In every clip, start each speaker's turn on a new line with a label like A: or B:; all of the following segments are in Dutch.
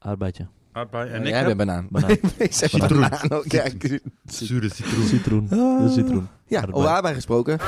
A: Arbeidje.
B: Aardbei en
C: En
B: ik
C: jij
B: heb
C: bent banaan.
A: Banaan.
C: Wees even
A: Citroen.
C: banaan ook, ja.
B: zure citroen.
A: Citroen. De citroen.
C: Ja,
A: Arbeid.
C: over arbeid gesproken.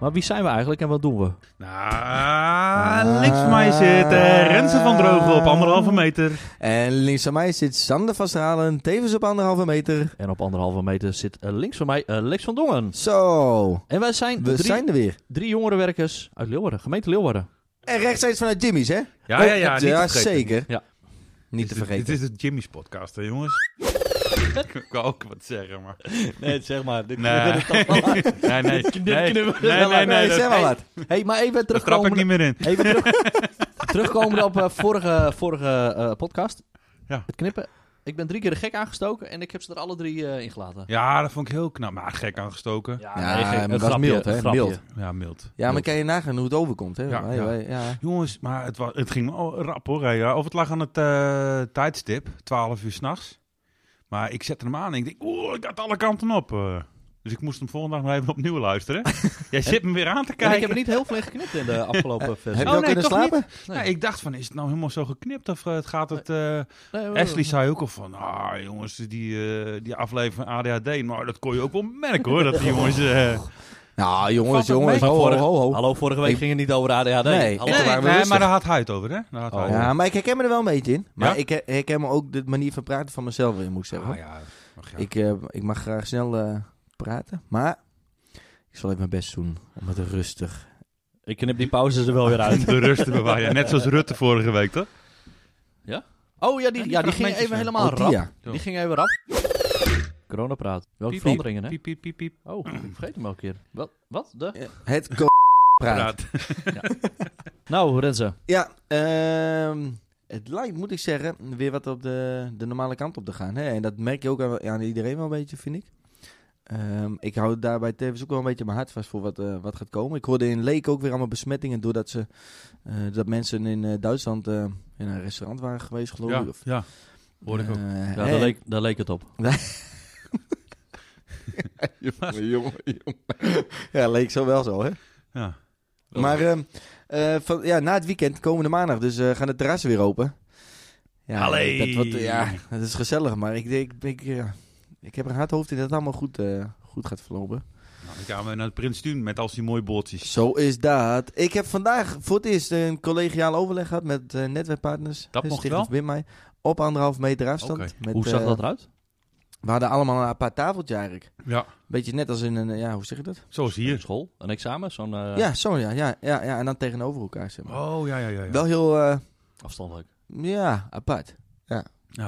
A: Maar wie zijn we eigenlijk en wat doen we?
B: Nou, links
C: Ah.
B: van mij zit eh, Renze van Drogen op anderhalve meter.
C: En links aan mij zit Sander van Stralen, tevens op anderhalve meter.
A: En op anderhalve meter zit eh, links van mij eh, Lex van Dongen.
C: Zo,
A: En wij zijn,
C: we
A: drie,
C: zijn er weer.
A: drie jongerenwerkers uit Leeuwarden, gemeente Leeuwarden.
C: En rechtstreeks vanuit Jimmy's, hè?
B: Ja, ja, ja. Niet te vergeten.
C: Oh, zeker.
A: Ja.
C: Niet te
B: Dit is-
C: vergeten.
B: Dit is de Jimmy's podcast, hè jongens. ik wou ook wat zeggen, maar...
A: Nee, zeg maar. Dit
B: Nee, nee, nee. Nee, nee,
A: knippen we
B: nee.
A: er wel
B: nee,
A: uit.
B: nee,
C: Hey, zeg
B: dat-
C: maar wat.
A: hey, maar even
B: Dat trap ik
A: terugkomen
B: niet meer in.
A: Even terug, terugkomen op eh, vorige, vorige eh, podcast.
B: Ja.
A: Het knippen. Ik ben drie keer de gek aangestoken en ik heb ze er alle drie eh, ingelaten.
B: Ja, dat vond ik heel knap. Maar gek aangestoken. Ja,
C: Ja, maar het was mild, hè? Mild.
B: mild.
C: Ja, maar kan je nagaan hoe het overkomt, hè?
B: Ja,
C: Wij-
B: ja.
C: wij- ja.
B: Jongens, maar het, wa- het ging wel rap hoor. hè, ja. Of het lag aan het eh, tijdstip, 12 uur s'nachts. Maar ik zette hem aan en ik denk, oeh, ik had alle kanten op. eh. dus ik moest hem volgende dag nog even opnieuw luisteren. Jij zit me weer aan te
A: En
B: kijken.
A: ik heb er niet heel veel in geknipt in de afgelopen versie.
C: Heb je
B: Oh,
C: wel
B: nee,
C: kunnen
B: toch
C: slapen?
A: Nee.
B: Ja, ik dacht van, is het nou helemaal zo geknipt? Of eh, het gaat het... eh,
A: Nee, we-
B: Ashley zei ook al van, ah jongens, die, eh, die aflevering van ADHD. Maar nou, dat kon je ook wel merken hoor, dat die jongens... eh,
C: Nou, jongens,
B: Valt het
C: jongens.
B: mee?
C: Ho, ho,
A: Vorige-
C: ho, ho.
A: Hallo, vorige week
C: Ik-
A: ging het niet over ADHD.
C: Oh. Nee.
A: Hallo.
C: En toen waren we
B: nee,
C: rustig.
B: maar daar had hij het over hè? Daar had hij
A: Oh.
B: het over.
C: Ja, maar ik herken me er wel een beetje in. Maar
B: Ja?
C: ik her- herken me ook de manier van praten van mezelf in, moet ik zeggen.
B: Ah, ja. Ach, ja.
C: ik, eh, ik mag graag snel eh, praten, maar ik zal even mijn best doen om het rustig.
A: Ik knip die pauzes er wel weer uit.
B: Om de rust te bewaren. Net zoals Rutte vorige week, toch?
A: Oh ja, die, ja, die ging
B: fragmentjes
A: even
B: zijn.
A: helemaal
C: Oh, die,
A: rap.
C: ja.
A: Die ging even rap. Coronapraat. Welke
B: Piep,
A: veranderingen, hè?
B: Piep, piep, piep, piep.
A: Oh, ik vergeet hem elke keer. Wat? Wat? De?
C: Eh, Het co- praat.
B: Praat.
A: Nou, Renze.
C: Ja, ehm, het lijkt, moet ik zeggen, weer wat op de, de normale kant op te gaan. Hè? En dat merk je ook aan, aan iedereen wel een beetje, vind ik. Ehm, ik hou daarbij tevens ook wel een beetje mijn hart vast voor wat, eh, wat gaat komen. Ik hoorde in Leek ook weer allemaal besmettingen doordat ze, eh, dat mensen in eh, Duitsland eh, in een restaurant waren geweest, geloof
B: Ja,
C: ik. Of,
B: ja. Hoor ik ook.
C: Eh,
A: Ja,
C: hè?
A: daar, leek, daar leek het op.
C: Jongen, jongen, jongen. Ja, leek zo wel zo, hè?
B: Ja.
C: Maar ehm, eh, van, ja, na het weekend, komende maandag, dus eh, gaan de terrassen weer open. Ja, eh,
B: Allee.
C: Dat, wordt, ja, dat is gezellig, maar ik, denk- ik, ik, ja, ik heb een hard hoofd in dat het allemaal goed, eh, goed gaat verlopen.
B: Nou, dan gaan we naar het Prins Tuun met al die mooie boordjes.
C: Zo is dat. Ik heb vandaag voor het eerst een collegiaal overleg gehad met eh, netwerkpartners.
B: Dat mocht
C: Stichting
B: wel?
C: Verbin mij. Op anderhalf meter afstand.
B: Oké.
C: Met,
A: Hoe zag
C: eh,
A: dat eruit?
C: We hadden allemaal een apart tafeltje eigenlijk.
B: Ja,
C: Beetje net als in een, eh, ja, hoe zeg je dat?
B: zoals
A: Hier.
B: hier.
A: School? Een examen? Zo'n eh,
C: ja, zo ja, ja, ja, ja. En dan tegenover elkaar, zeg maar.
B: Oh, ja, ja, ja. ja.
C: Wel heel, eh,
A: afstandelijk.
C: ja, apart.
B: ja,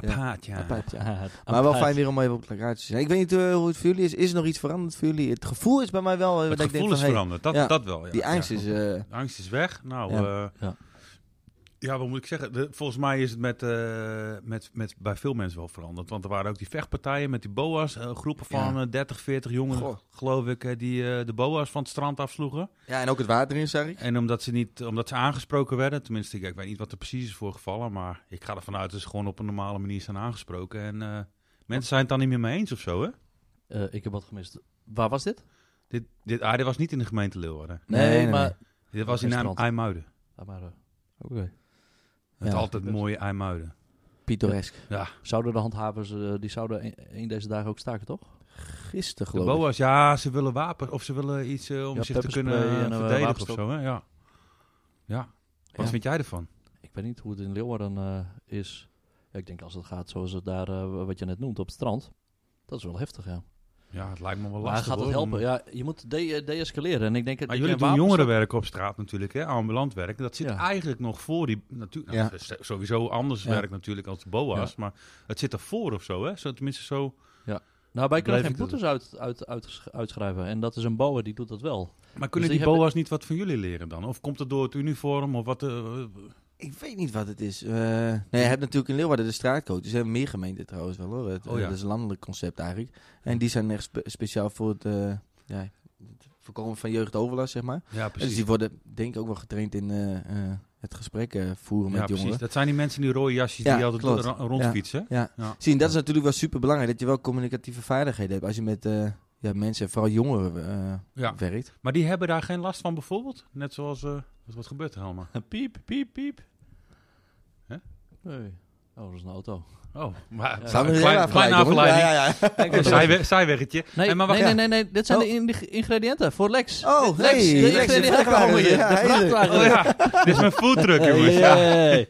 B: paard, ja.
C: apart ja. Maar
A: Apart.
C: wel fijn weer om even op elkaar te zijn. Ik weet niet eh, hoe het voor jullie is. Is er nog iets veranderd voor jullie? Het gevoel is bij mij wel... eh, dat
B: Het
C: ik denk
B: gevoel is
C: van, hey,
B: veranderd, dat,
C: ja,
B: dat wel. Ja.
C: Die angst
B: Ja.
C: is... eh,
B: De angst is weg. Nou, eh,
C: Ja.
B: ja.
A: Ja.
B: wat moet ik zeggen? De- volgens mij is het met, eh, met, met, bij veel mensen wel veranderd. Want er waren ook die vechtpartijen met die boa's. eh, groepen van
C: Ja.
B: eh, 30, 40 jongeren,
C: Goh.
B: geloof ik, eh, die eh, de boa's van het strand afsloegen.
C: ja, en ook het water in, zag ik.
B: En omdat ze, niet, omdat ze aangesproken werden, tenminste, ik, ik weet niet wat er precies is voorgevallen, maar ik ga ervan uit dat ze gewoon op een normale manier zijn aangesproken. En eh, mensen zijn het dan niet meer mee eens of zo, hè?
A: Eh, ik heb wat gemist. Waar was dit?
B: Dit, dit, ah, dit was niet in de gemeente Leeuwarden.
C: Nee, nee, nee.
A: maar...
B: Dit was in
A: Restaurant.
B: IJm- IJmuiden.
A: Ah, maar eh, Oké.
B: Het
C: Ja.
B: altijd mooie IJmuiden.
C: Pittoresk.
A: Zouden de handhavers, eh, die zouden een, een deze dagen ook staken, toch?
C: Gisteren
B: De
C: geloof ik.
B: boa's, ja, ze willen wapens of ze willen iets eh, om
A: Ja,
B: zich te
A: pepperspray
B: kunnen eh,
A: en, eh,
B: verdedigen of
A: wapenstok.
B: zo, hè? Ja. ja. Wat
C: Ja.
B: vind jij ervan?
A: Ik weet niet hoe het in Leeuwarden eh, is. Ja, ik denk als het gaat zoals het daar, eh, wat je net noemt, op het strand. Dat is wel heftig, ja.
B: Ja, het lijkt me wel
A: maar
B: lastig.
A: gaat het
B: hoor, om-
A: helpen? Ja, je moet de- eh, deescaleren. en ik denk... dat
B: Maar
A: ik
B: jullie
A: een
B: doen
A: wapenstok-
B: jongerenwerk op straat natuurlijk, hè? ambulant werk. Dat zit
A: Ja.
B: eigenlijk nog voor die... Natuurlijk, nou,
C: Ja.
B: het is Sowieso anders
C: Ja.
B: werk natuurlijk als BOA's, maar het zit ervoor of zo, hè? Zo, tenminste zo...
A: Nou, wij kunnen
B: Blijf
A: geen
B: ik dat
A: boetes uit, uit, uit, uitschrijven. En dat is een boer, die doet dat wel.
B: Maar
A: die
B: kunnen Dus die
A: hebben-
B: BOA's niet wat van jullie leren dan? Of komt het door het uniform of wat? eh, eh,
C: Ik weet niet wat het is. Eh, nee, je hebt natuurlijk in Leeuwarden de straatcoaches. Er zijn meer gemeenten trouwens wel hoor. Het,
B: Oh ja.
C: Dat is een landelijk concept eigenlijk. En die zijn echt spe- speciaal voor het... eh, ja, voorkomen van jeugdoverlast, zeg maar.
B: Ja,
C: Dus
B: precies.
C: die worden denk ik ook wel getraind in eh, eh, het gesprek eh, voeren
B: Ja,
C: met
B: precies.
C: jongeren.
B: Dat zijn die mensen in die rode jasjes
C: Ja,
B: die altijd
C: klopt.
B: ro- rondfietsen.
C: Ja.
B: Ja.
C: Zie, en dat is natuurlijk wel super belangrijk dat je wel communicatieve vaardigheden hebt als je met eh, ja, mensen, vooral jongeren, eh,
B: Ja.
C: werkt.
B: Maar die hebben daar geen last van bijvoorbeeld? Net zoals... eh, wat, wat gebeurt er allemaal?
A: Piep, piep, piep.
B: Hè?
A: Nee. Oh, dat is een auto.
B: Oh, maar...
A: Ja.
C: Gaan we
B: een
C: heel
B: klein,
C: afgeleid,
B: kleine
C: jongens.
B: afleiding.
C: Ja, ja, ja.
B: Een zijwe- Zijweggetje.
A: Nee,
B: Hey, maar wacht,
A: nee, nee,
C: ja.
A: nee, nee, dit zijn
C: Oh.
A: de ing- ingrediënten voor Lex.
C: Oh,
A: Lex,
C: hey,
A: de
C: Lex, de
A: ingrediënten
C: vrachtwagen
A: komen hier.
C: weer. Ja,
A: de
C: heerlijk.
A: vrachtwagen.
B: Oh ja, dit is mijn foodtruck, jongens.
A: Hey,
B: Ja.
A: hey.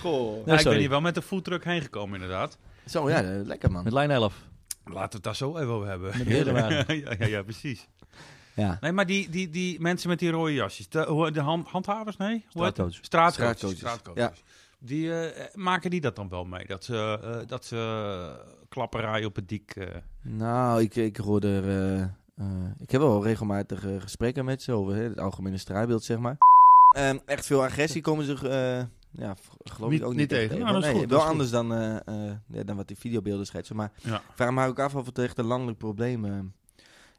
C: Goh.
A: Nou,
B: ik ben
A: sorry.
B: hier wel met de foodtruck heen gekomen, inderdaad.
C: Zo, ja, eh, lekker man.
A: Met lijn 11.
B: Laten we het daar zo even over hebben.
A: Met de herenwagen.
B: ja, ja, ja, precies.
C: Ja.
B: Nee, maar die, die, die mensen met die rode jasjes, de, hoe- de hand- handhavers, nee? Hoe heet
A: Straatcoach.
B: het? Straatcoaches.
C: Straatcoaches,
B: Straatcoaches. Die, eh, eh, maken die dat dan wel mee? Dat ze, eh, dat ze eh, klapperij op het dik... eh,
C: Nou, ik, ik hoor er. eh, eh, ik heb wel regelmatig eh, gesprekken met ze over hè, het algemene straatbeeld, zeg maar. Ehm, echt veel agressie komen ze. eh, ja, v- geloof
D: Niet-
C: ik ook niet,
D: niet
C: echt
D: tegen.
C: tegen.
B: Ja, dat is
C: nee,
B: goed,
C: wel
B: dat is
C: anders dan, eh, eh, ja, dan wat die videobeelden schetsen. Maar
B: Ja.
C: ik vraag me ook af of het echt een landelijk probleem eh,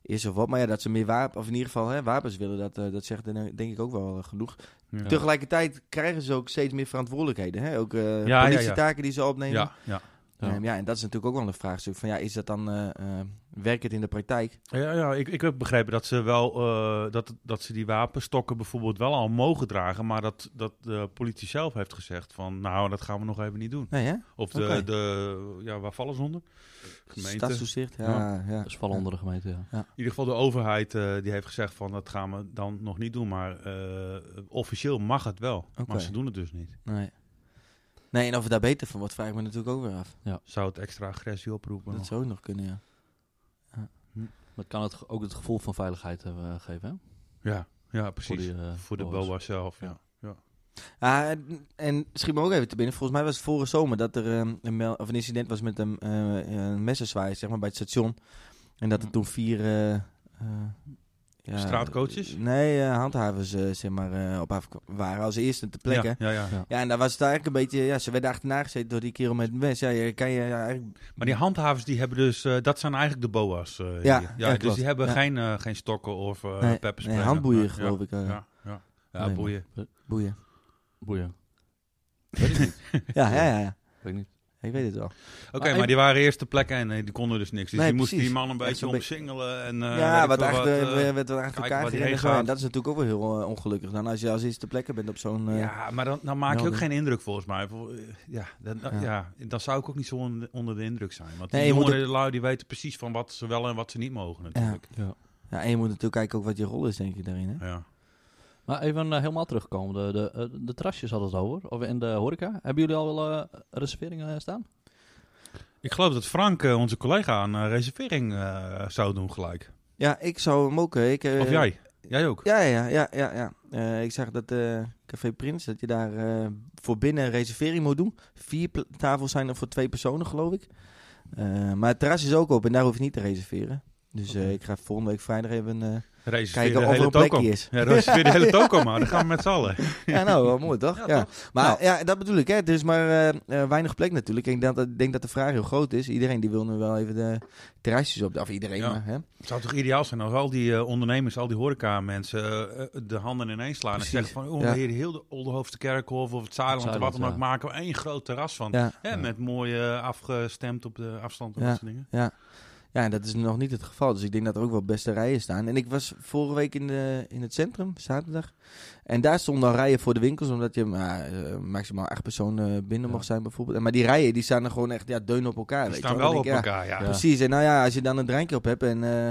C: is of wat. Maar ja, dat ze meer wapens, of in ieder geval hè, wapens willen, dat, eh, dat zegt eh, denk ik ook wel eh, genoeg.
B: ja.
C: Tegelijkertijd krijgen ze ook steeds meer verantwoordelijkheden. Hè? Ook eh
B: ja, ja.
C: politietaken die ze opnemen.
B: ja, ja.
A: Ja.
C: Ehm, ja, en dat is natuurlijk ook wel een vraagstuk. Van ja, is dat dan eh, eh, werkt het in de praktijk?
B: Ja, ja ik, ik heb begrepen dat ze wel eh, dat, dat ze die wapenstokken bijvoorbeeld wel al mogen dragen, maar dat, dat de politie zelf heeft gezegd van nou, dat gaan we nog even niet doen.
C: Nee, hè?
B: Of de,
C: Oké.
B: de ja, waar vallen ze onder? Gemeente. In
C: Stadstoezicht, ja. ja.
A: Dat is vallen onder de gemeente, ja.
B: ieder geval de overheid eh, die heeft gezegd van dat gaan we dan nog niet doen, maar eh, officieel mag het wel. Maar
C: Oké.
B: ze doen het dus niet.
C: Nee. nee, en of het daar beter van wordt, vraag ik me natuurlijk ook weer af.
B: Zou het extra agressie oproepen?
C: Dat
B: nog?
C: zou ook nog kunnen, ja.
A: Dat kan het ge- ook het gevoel van veiligheid eh, geven, hè?
B: Ja, ja, precies. Voor,
A: Voor, die, eh,
B: de
A: boa's.
B: boa zelf, ja.
A: Ja.
C: Ah, en- en schiet me ook even te binnen. Volgens mij was het vorige zomer dat er ehm, een, mel- of een incident was met een, eh een messenzwaai, zeg maar, bij het station. En dat er toen vier... eh, eh, ja,
B: Straatcoaches?
C: Nee, eh, handhavers, eh, zeg maar, eh, op af waren als eerste ter plekke.
B: Ja, ja, ja.
A: Ja.
C: Ja, en daar was het eigenlijk een beetje... Ja, ze werden achterna gezeten door die kerel met een mes. Ja, je kan je ja, eigenlijk...
B: Maar die handhavers, die hebben dus, eh, dat zijn eigenlijk de boa's. eh,
C: Ja,
B: hier.
C: ja,
B: ja, dus
C: klopt.
B: die hebben
C: Ja.
B: geen, eh, geen stokken of eh
C: Nee,
B: pepperspray.
C: Nee, handboeien, geloof ik. eh,
B: Ja, ja, ja. ja
C: Nee,
B: boeien.
C: Boeien.
A: Boeien.
C: Ja, ja, ja, ja.
A: Weet ik niet.
C: Ik weet het wel.
B: Oké,
A: Maar
B: maar die waren eerst de plekken en eh, die konden dus niks. Dus
C: Nee,
B: die moesten
C: precies.
B: die man een
C: Ja,
B: beetje
C: zo'n beetje-
B: omsingelen. En, eh, weet
C: ja,
B: ik
C: wat
B: veel
C: achter,
B: eh,
C: we- werd wat achter
B: kijk
C: elkaar
B: waar die
C: gereden en
B: heen
C: zo. En
B: gaat.
C: dat is natuurlijk ook wel heel eh, ongelukkig. Dan als je als eerste ter plekke bent op zo'n... eh,
B: ja, maar dan, dan maak je ook
C: melding.
B: geen indruk volgens mij. Voor- eh, Ja, dan, dan-
C: Ja.
B: ja. dan zou ik ook niet zo onder, onder de indruk zijn. Want
C: Nee,
B: die
C: je moet
B: jongeren, de lui, die weten precies van wat ze wel en wat ze niet mogen natuurlijk.
C: ja, en je moet natuurlijk kijken ook wat je rol is, denk ik, daarin. Hè?
B: Ja.
A: Maar even eh, helemaal terugkomen. De, de, eh, de terrasjes hadden het over. Of in de horeca. Hebben jullie al eh, reserveringen eh, staan?
B: Ik geloof dat Frank, eh, onze collega, een eh, reservering eh, zou doen gelijk.
C: Ja, ik zou hem ook... eh, Ik, eh,
B: Of jij? Jij ook?
C: Ja, ja, ja. ja, ja. Eh, ik zag dat eh, Café Prins, dat je daar eh, voor binnen een reservering moet doen. Vier pla- tafels zijn er voor twee personen, geloof ik. Eh, maar het terras is ook op en daar hoef je niet te reserveren. Dus eh, ik ga volgende week vrijdag even eh,
B: Reserveer de
C: kijken of er
B: hele
C: een plekje
B: toko.
C: is.
B: Ja, dat is weer de hele toko, maar dan gaan we met z'n allen.
C: Ja, nou, wel mooi toch? Ja, Maar ja, dat bedoel ik. Hè. Er is maar eh, eh, weinig plek natuurlijk. Ik denk dat, ik denk dat de vraag heel groot is. Iedereen die wil nu wel even de terrasjes op. Of iedereen
B: Ja.
C: maar. Hè.
B: Het zou toch ideaal zijn als al die eh, ondernemers, al die horeca-mensen eh, eh, de handen ineens slaan
C: Precies,
B: en zeggen van, oh,
C: ja.
B: hier heel de Oldenhoofdse Kerkhof of het Zuiland,
A: Het
B: wat dan ook,
A: Zuiland,
B: maken we één groot terras van.
C: Ja.
B: Hè,
A: Ja.
B: Met mooi eh, afgestemd op de afstand en
C: Ja.
B: dat soort dingen.
C: ja, en dat is nog niet het geval. Dus ik denk dat er ook wel beste rijen staan. En ik was vorige week in, de, in het centrum, zaterdag. En daar stonden al rijen voor de winkels. Omdat je maar, eh, maximaal acht personen binnen
A: Ja.
C: mocht zijn bijvoorbeeld. En- Maar die rijen die staan er gewoon echt ja, deun op elkaar.
B: Die
C: weet je
B: staan
C: wel. Dan
B: wel op
C: denk ik, ja,
B: elkaar, ja.
A: Ja.
C: Precies, en nou ja, als je dan een drankje op hebt en eh,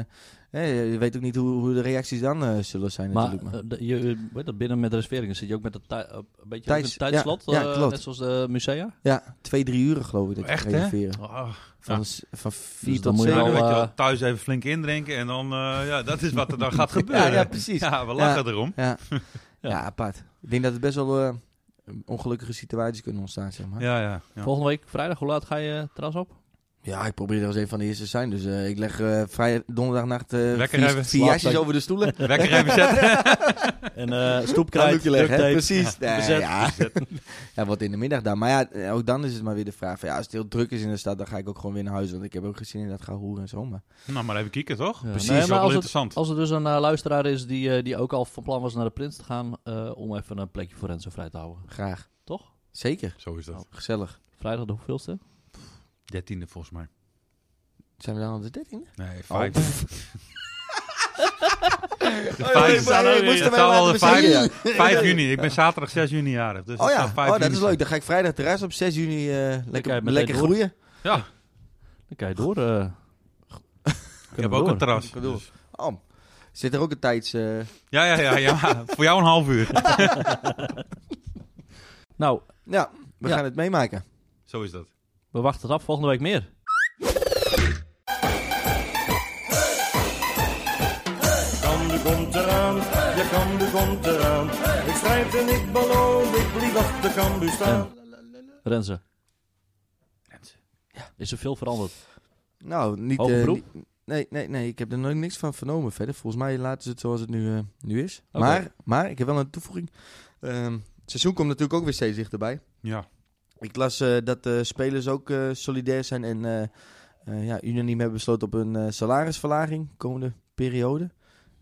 C: eh, je weet ook niet hoe, hoe de reacties dan eh, zullen zijn
A: Maar,
C: natuurlijk. Maar.
A: eh, de- je, eh, weet dat, binnen met reserveringen zit je ook met een, tij- eh, een beetje
C: Tijds-
A: een tijdslot.
C: ja, ja,
A: eh,
C: klopt.
A: net zoals de musea.
C: Ja, twee, drie uren geloof ik dat
B: eh, Echt,
C: je
B: hè?
C: kan reserveren.
B: Oh,
C: Van,
B: Ja.
C: s- van vier
A: Dus dan
C: tot
A: moet je
B: nou,
A: wel,
B: dan
C: zeven.
B: weet je
A: eh,
B: wel, thuis even flink indrinken en dan, eh, ja, dat is wat er dan gaat
C: Ja,
B: gebeuren.
C: ja, precies. Ja.
B: Ja, we lachen erom.
C: Ja.
A: Ja.
C: apart. Ik denk dat het best wel eh, ongelukkige situaties kunnen ontstaan, zeg maar.
B: Ja, ja. ja.
A: Volgende week vrijdag, hoe laat ga je eh, terras op?
C: Ja, ik probeer er eens een van de eerste te zijn. Dus eh, ik leg eh vrij donderdagnacht eh
B: Lekker
C: vier,
B: hebben.
C: vier jasjes
A: Slaapzak.
C: over de stoelen.
B: Lekker even zetten.
A: En eh
C: Kan
A: stoepkrijt,
C: je leggen,
A: duct
C: hè?
A: tape.
C: Precies. Nee,
A: bezet.
C: ja. ja, wat in de middag dan. Maar ja, eh, ook dan is het maar weer de vraag van, ja, als het heel druk is in de stad, dan ga ik ook gewoon weer naar huis. Want ik heb ook gezien in dat gaan hoeren en zo. Maar
B: nou, maar even kijken, toch?
A: Ja,
B: Precies,
A: nee, maar
B: wel
A: als het-
B: interessant.
A: Als er dus een eh, luisteraar is die, eh, die ook al van plan was naar de Prins te gaan... eh, om even een plekje voor Renzo vrij te houden.
C: graag.
A: Toch?
C: Zeker.
B: Zo is dat.
C: Gezellig.
A: Vrijdag de hoeveelste?
B: Dertiende volgens mij.
C: Zijn we dan op de 13e?
B: Nee,
C: Oh,
B: vijf.
C: Oh,
B: vijf-
C: nee, maar- nee, ik moest
B: Het
C: hem
B: zal
C: wel
B: wel
C: laten
B: de vijf-
C: bezinken, ja.
B: 5 juni. Ik ben zaterdag 6 juni jarig. Dus
C: Oh
B: het
C: ja,
B: zal 5
C: oh, dat
B: juni
C: is
B: zijn.
C: leuk. Dan ga ik vrijdag terras op 6 juni eh,
A: je
C: lekker,
A: meteen
C: lekker
A: door.
C: groeien.
B: Ja,
A: Dan kan je door. eh.
B: ik heb ook
A: door.
B: een terras.
C: Kan door.
B: dus.
C: Oh, zit er ook een tijds... eh,
B: Ja, ja, ja, ja. Voor jou een half uur.
A: Nou,
C: Ja, we
A: Ja.
C: gaan het meemaken.
B: Zo is dat.
A: we wachten het af. Volgende week meer.
D: Kande komt eraan, je kambu komt eraan. Ik strijd en ik beloon, ik vlieg op de kambu staan.
A: Renze. Ja. Is er veel veranderd?
C: Nou, niet...
A: Hoge
C: eh,
A: beroep?
C: niet- nee, nee, nee, ik heb er nog niks van vernomen verder. Volgens mij laten ze het zoals het nu, eh, nu is.
A: Oké.
C: Maar, maar, ik heb wel een toevoeging. Ehm, het seizoen komt natuurlijk ook weer steeds dichterbij.
B: Ja.
C: Ik las eh, dat de spelers ook eh, solidair zijn en eh, eh, ja, unaniem hebben besloten op een eh, salarisverlaging komende periode.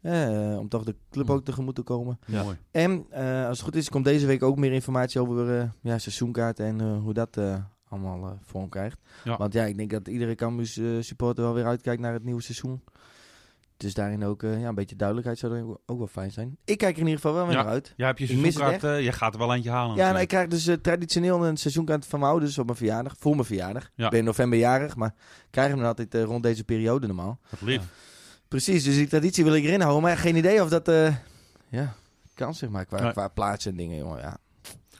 C: Eh, om toch de club
A: Hmm.
C: ook tegemoet te komen.
A: Ja.
B: Mooi.
C: En eh, als het goed is, komt deze week ook meer informatie over eh, ja, seizoenkaarten en eh, hoe dat eh, allemaal eh, vorm krijgt.
B: Ja.
C: Want ja, ik denk dat iedere Cambus eh, supporter wel weer uitkijkt naar het nieuwe seizoen. Dus daarin ook eh, ja, een beetje duidelijkheid zou dan ook wel fijn zijn. Ik kijk er in ieder geval wel weer
B: Ja.
C: naar uit.
B: Jij hebt je
C: Ik mis het
B: seizoenkaart, eh, jij gaat er wel eentje halen.
C: Ja, en ik krijg dus eh, traditioneel een seizoenkaart van mijn ouders op mijn verjaardag. Voor mijn verjaardag.
B: Ja.
C: Ik ben in november jarig, maar ik krijg hem dan altijd eh, rond deze periode normaal.
B: Wat lief.
C: Precies, dus die traditie wil ik erin houden. Maar geen idee of dat eh, ja, kan, zeg maar, qua,
B: Nee.
C: qua plaatsen en dingen, jongen. Ja.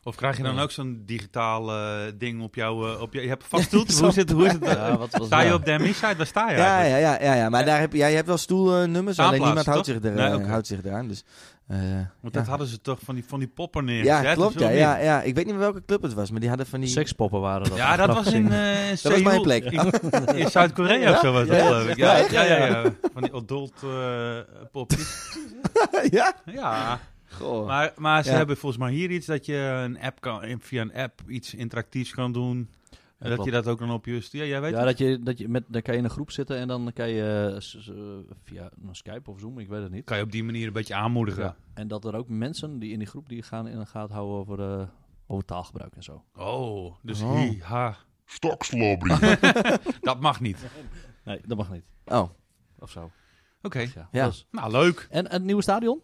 B: Of krijg je dan ook zo'n digitaal eh, ding op jou? eh, op je, je hebt een vast
C: Zo'n
B: stoeltje. hoe is het? Hoe is het eh,
A: Ja, wat was
B: sta je op de MI-site? Waar sta je
C: Ja,
B: eigenlijk?
C: ja, ja, ja, ja. Maar daar heb, jij hebt wel stoelnummers, alleen
B: Aanplaatsen,
C: niemand houdt
B: toch?
C: zich, er,
B: Nee,
C: eh,
B: oké.
C: houdt zich eraan. Dus, eh,
B: Want
C: ja.
B: dat hadden ze toch van die, van die poppen neergezet?
C: ja, klopt.
B: of zo,
C: Ja,
B: of
C: ja,
B: niet?
C: ja, ik weet niet meer welke club het was, maar die hadden van die...
A: Sekspoppen waren dat.
B: Ja, dat was in eh
C: Dat was mijn
B: Seoul,
C: plek.
B: In, in Zuid-Korea of zo was dat, geloof ik. Ja, ja, ja, ja. Van die adult eh, popjes.
C: ja? Oh.
B: Ja.
C: Goh.
B: Maar, maar ze
C: Ja.
B: hebben volgens mij hier iets dat je een app kan, via een app iets interactiefs kan doen. En eh, dat
A: klopt.
B: je dat ook dan op je... Ja, jij weet
A: Ja,
B: het.
A: dat je, dat je met, dan kan je in een groep zitten en dan kan je eh, s- s- eh, via nou, Skype of Zoom, ik weet het niet.
B: kan je op die manier een beetje aanmoedigen.
A: Ja. En dat er ook mensen die in die groep die gaan in de gaten houden over, eh, over taalgebruik en zo.
B: Oh, dus
C: Oh.
B: hi, ha. Dat mag niet. Oké.
A: Nee, dat mag niet.
C: Oh,
A: Of zo. Ja.
C: Ja.
A: dat is-
B: Nou, leuk.
A: En het nieuwe stadion?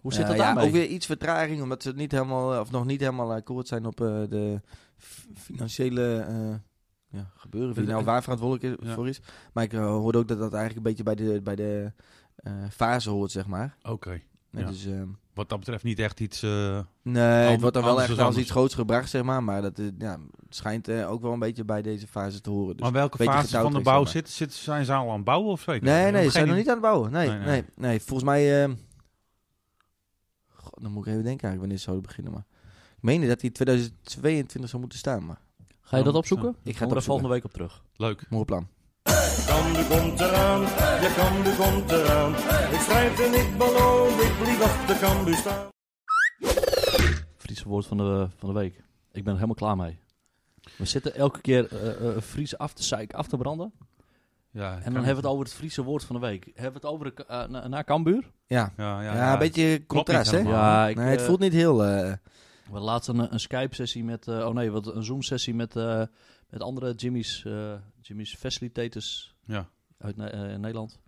A: Hoe zit
C: Eh,
A: dat
C: ja,
A: daarmee?
C: Ook weer iets vertraging, omdat ze het niet helemaal, eh, of nog niet helemaal akkoord zijn op eh, de f- financiële eh, ja, gebeuren. Wie nou waar verantwoordelijk is-
B: Ja.
C: voor is. Maar ik eh, hoorde ook dat dat eigenlijk een beetje bij de, bij de eh, fase hoort, zeg maar.
B: Oké.
C: En
B: Ja.
C: Dus, ehm,
B: Wat dat betreft niet echt iets... eh,
C: nee,
B: Ander-
C: het wordt dan wel
B: anders
C: echt
B: is
C: als
B: anders.
C: iets groots gebracht, zeg maar. Maar dat eh, ja, het schijnt eh, ook wel een beetje bij deze fase te horen. Dus.
B: maar welke
C: beetje
B: fase van de
C: getouwtrek,
B: bouw
C: zeg
B: zit, zit? Zijn ze al aan het bouwen of zo? Ik weet
C: nee,
B: het
C: nee, ze zijn nog
B: Geen-
C: niet aan het bouwen. Nee,
B: Nee,
C: nee,
B: nee.
C: nee. volgens mij... ehm, God, dan moet ik even denken eigenlijk wanneer ze zouden beginnen. Maar ik meende dat die 2022 zou moeten staan, maar...
A: Ga je dat opzoeken?
B: Ik
A: Komen
C: het
A: we daar
C: opzoeken.
A: volgende week op terug.
B: Leuk.
C: Mooi plan.
D: Kambu komt eraan, je kambu komt eraan. Ik strijd en ik beloon, ik vlieg op de kambu staan.
A: Friese woord van de, van de week. Ik ben er helemaal klaar mee. We zitten elke keer eh, eh, Fries af te zeiken, af te branden.
B: Ja, kan
A: En dan
B: niet.
A: hebben we het over het Friese woord van de week. Hebben we het over de, eh, na, na Kambuur?
C: Ja,
B: Ja, ja,
C: ja, een beetje contrast, hè?
B: helemaal.
A: Ja, ik,
C: nee, het
A: eh,
C: voelt niet heel... eh,
A: We hadden laatst een, een Skype-sessie met... eh, oh nee, wat, een Zoom-sessie met, eh, met andere Jimmy's, eh, Jimmy's facilitators
B: Ja.
A: uit Ne- eh, Nederland.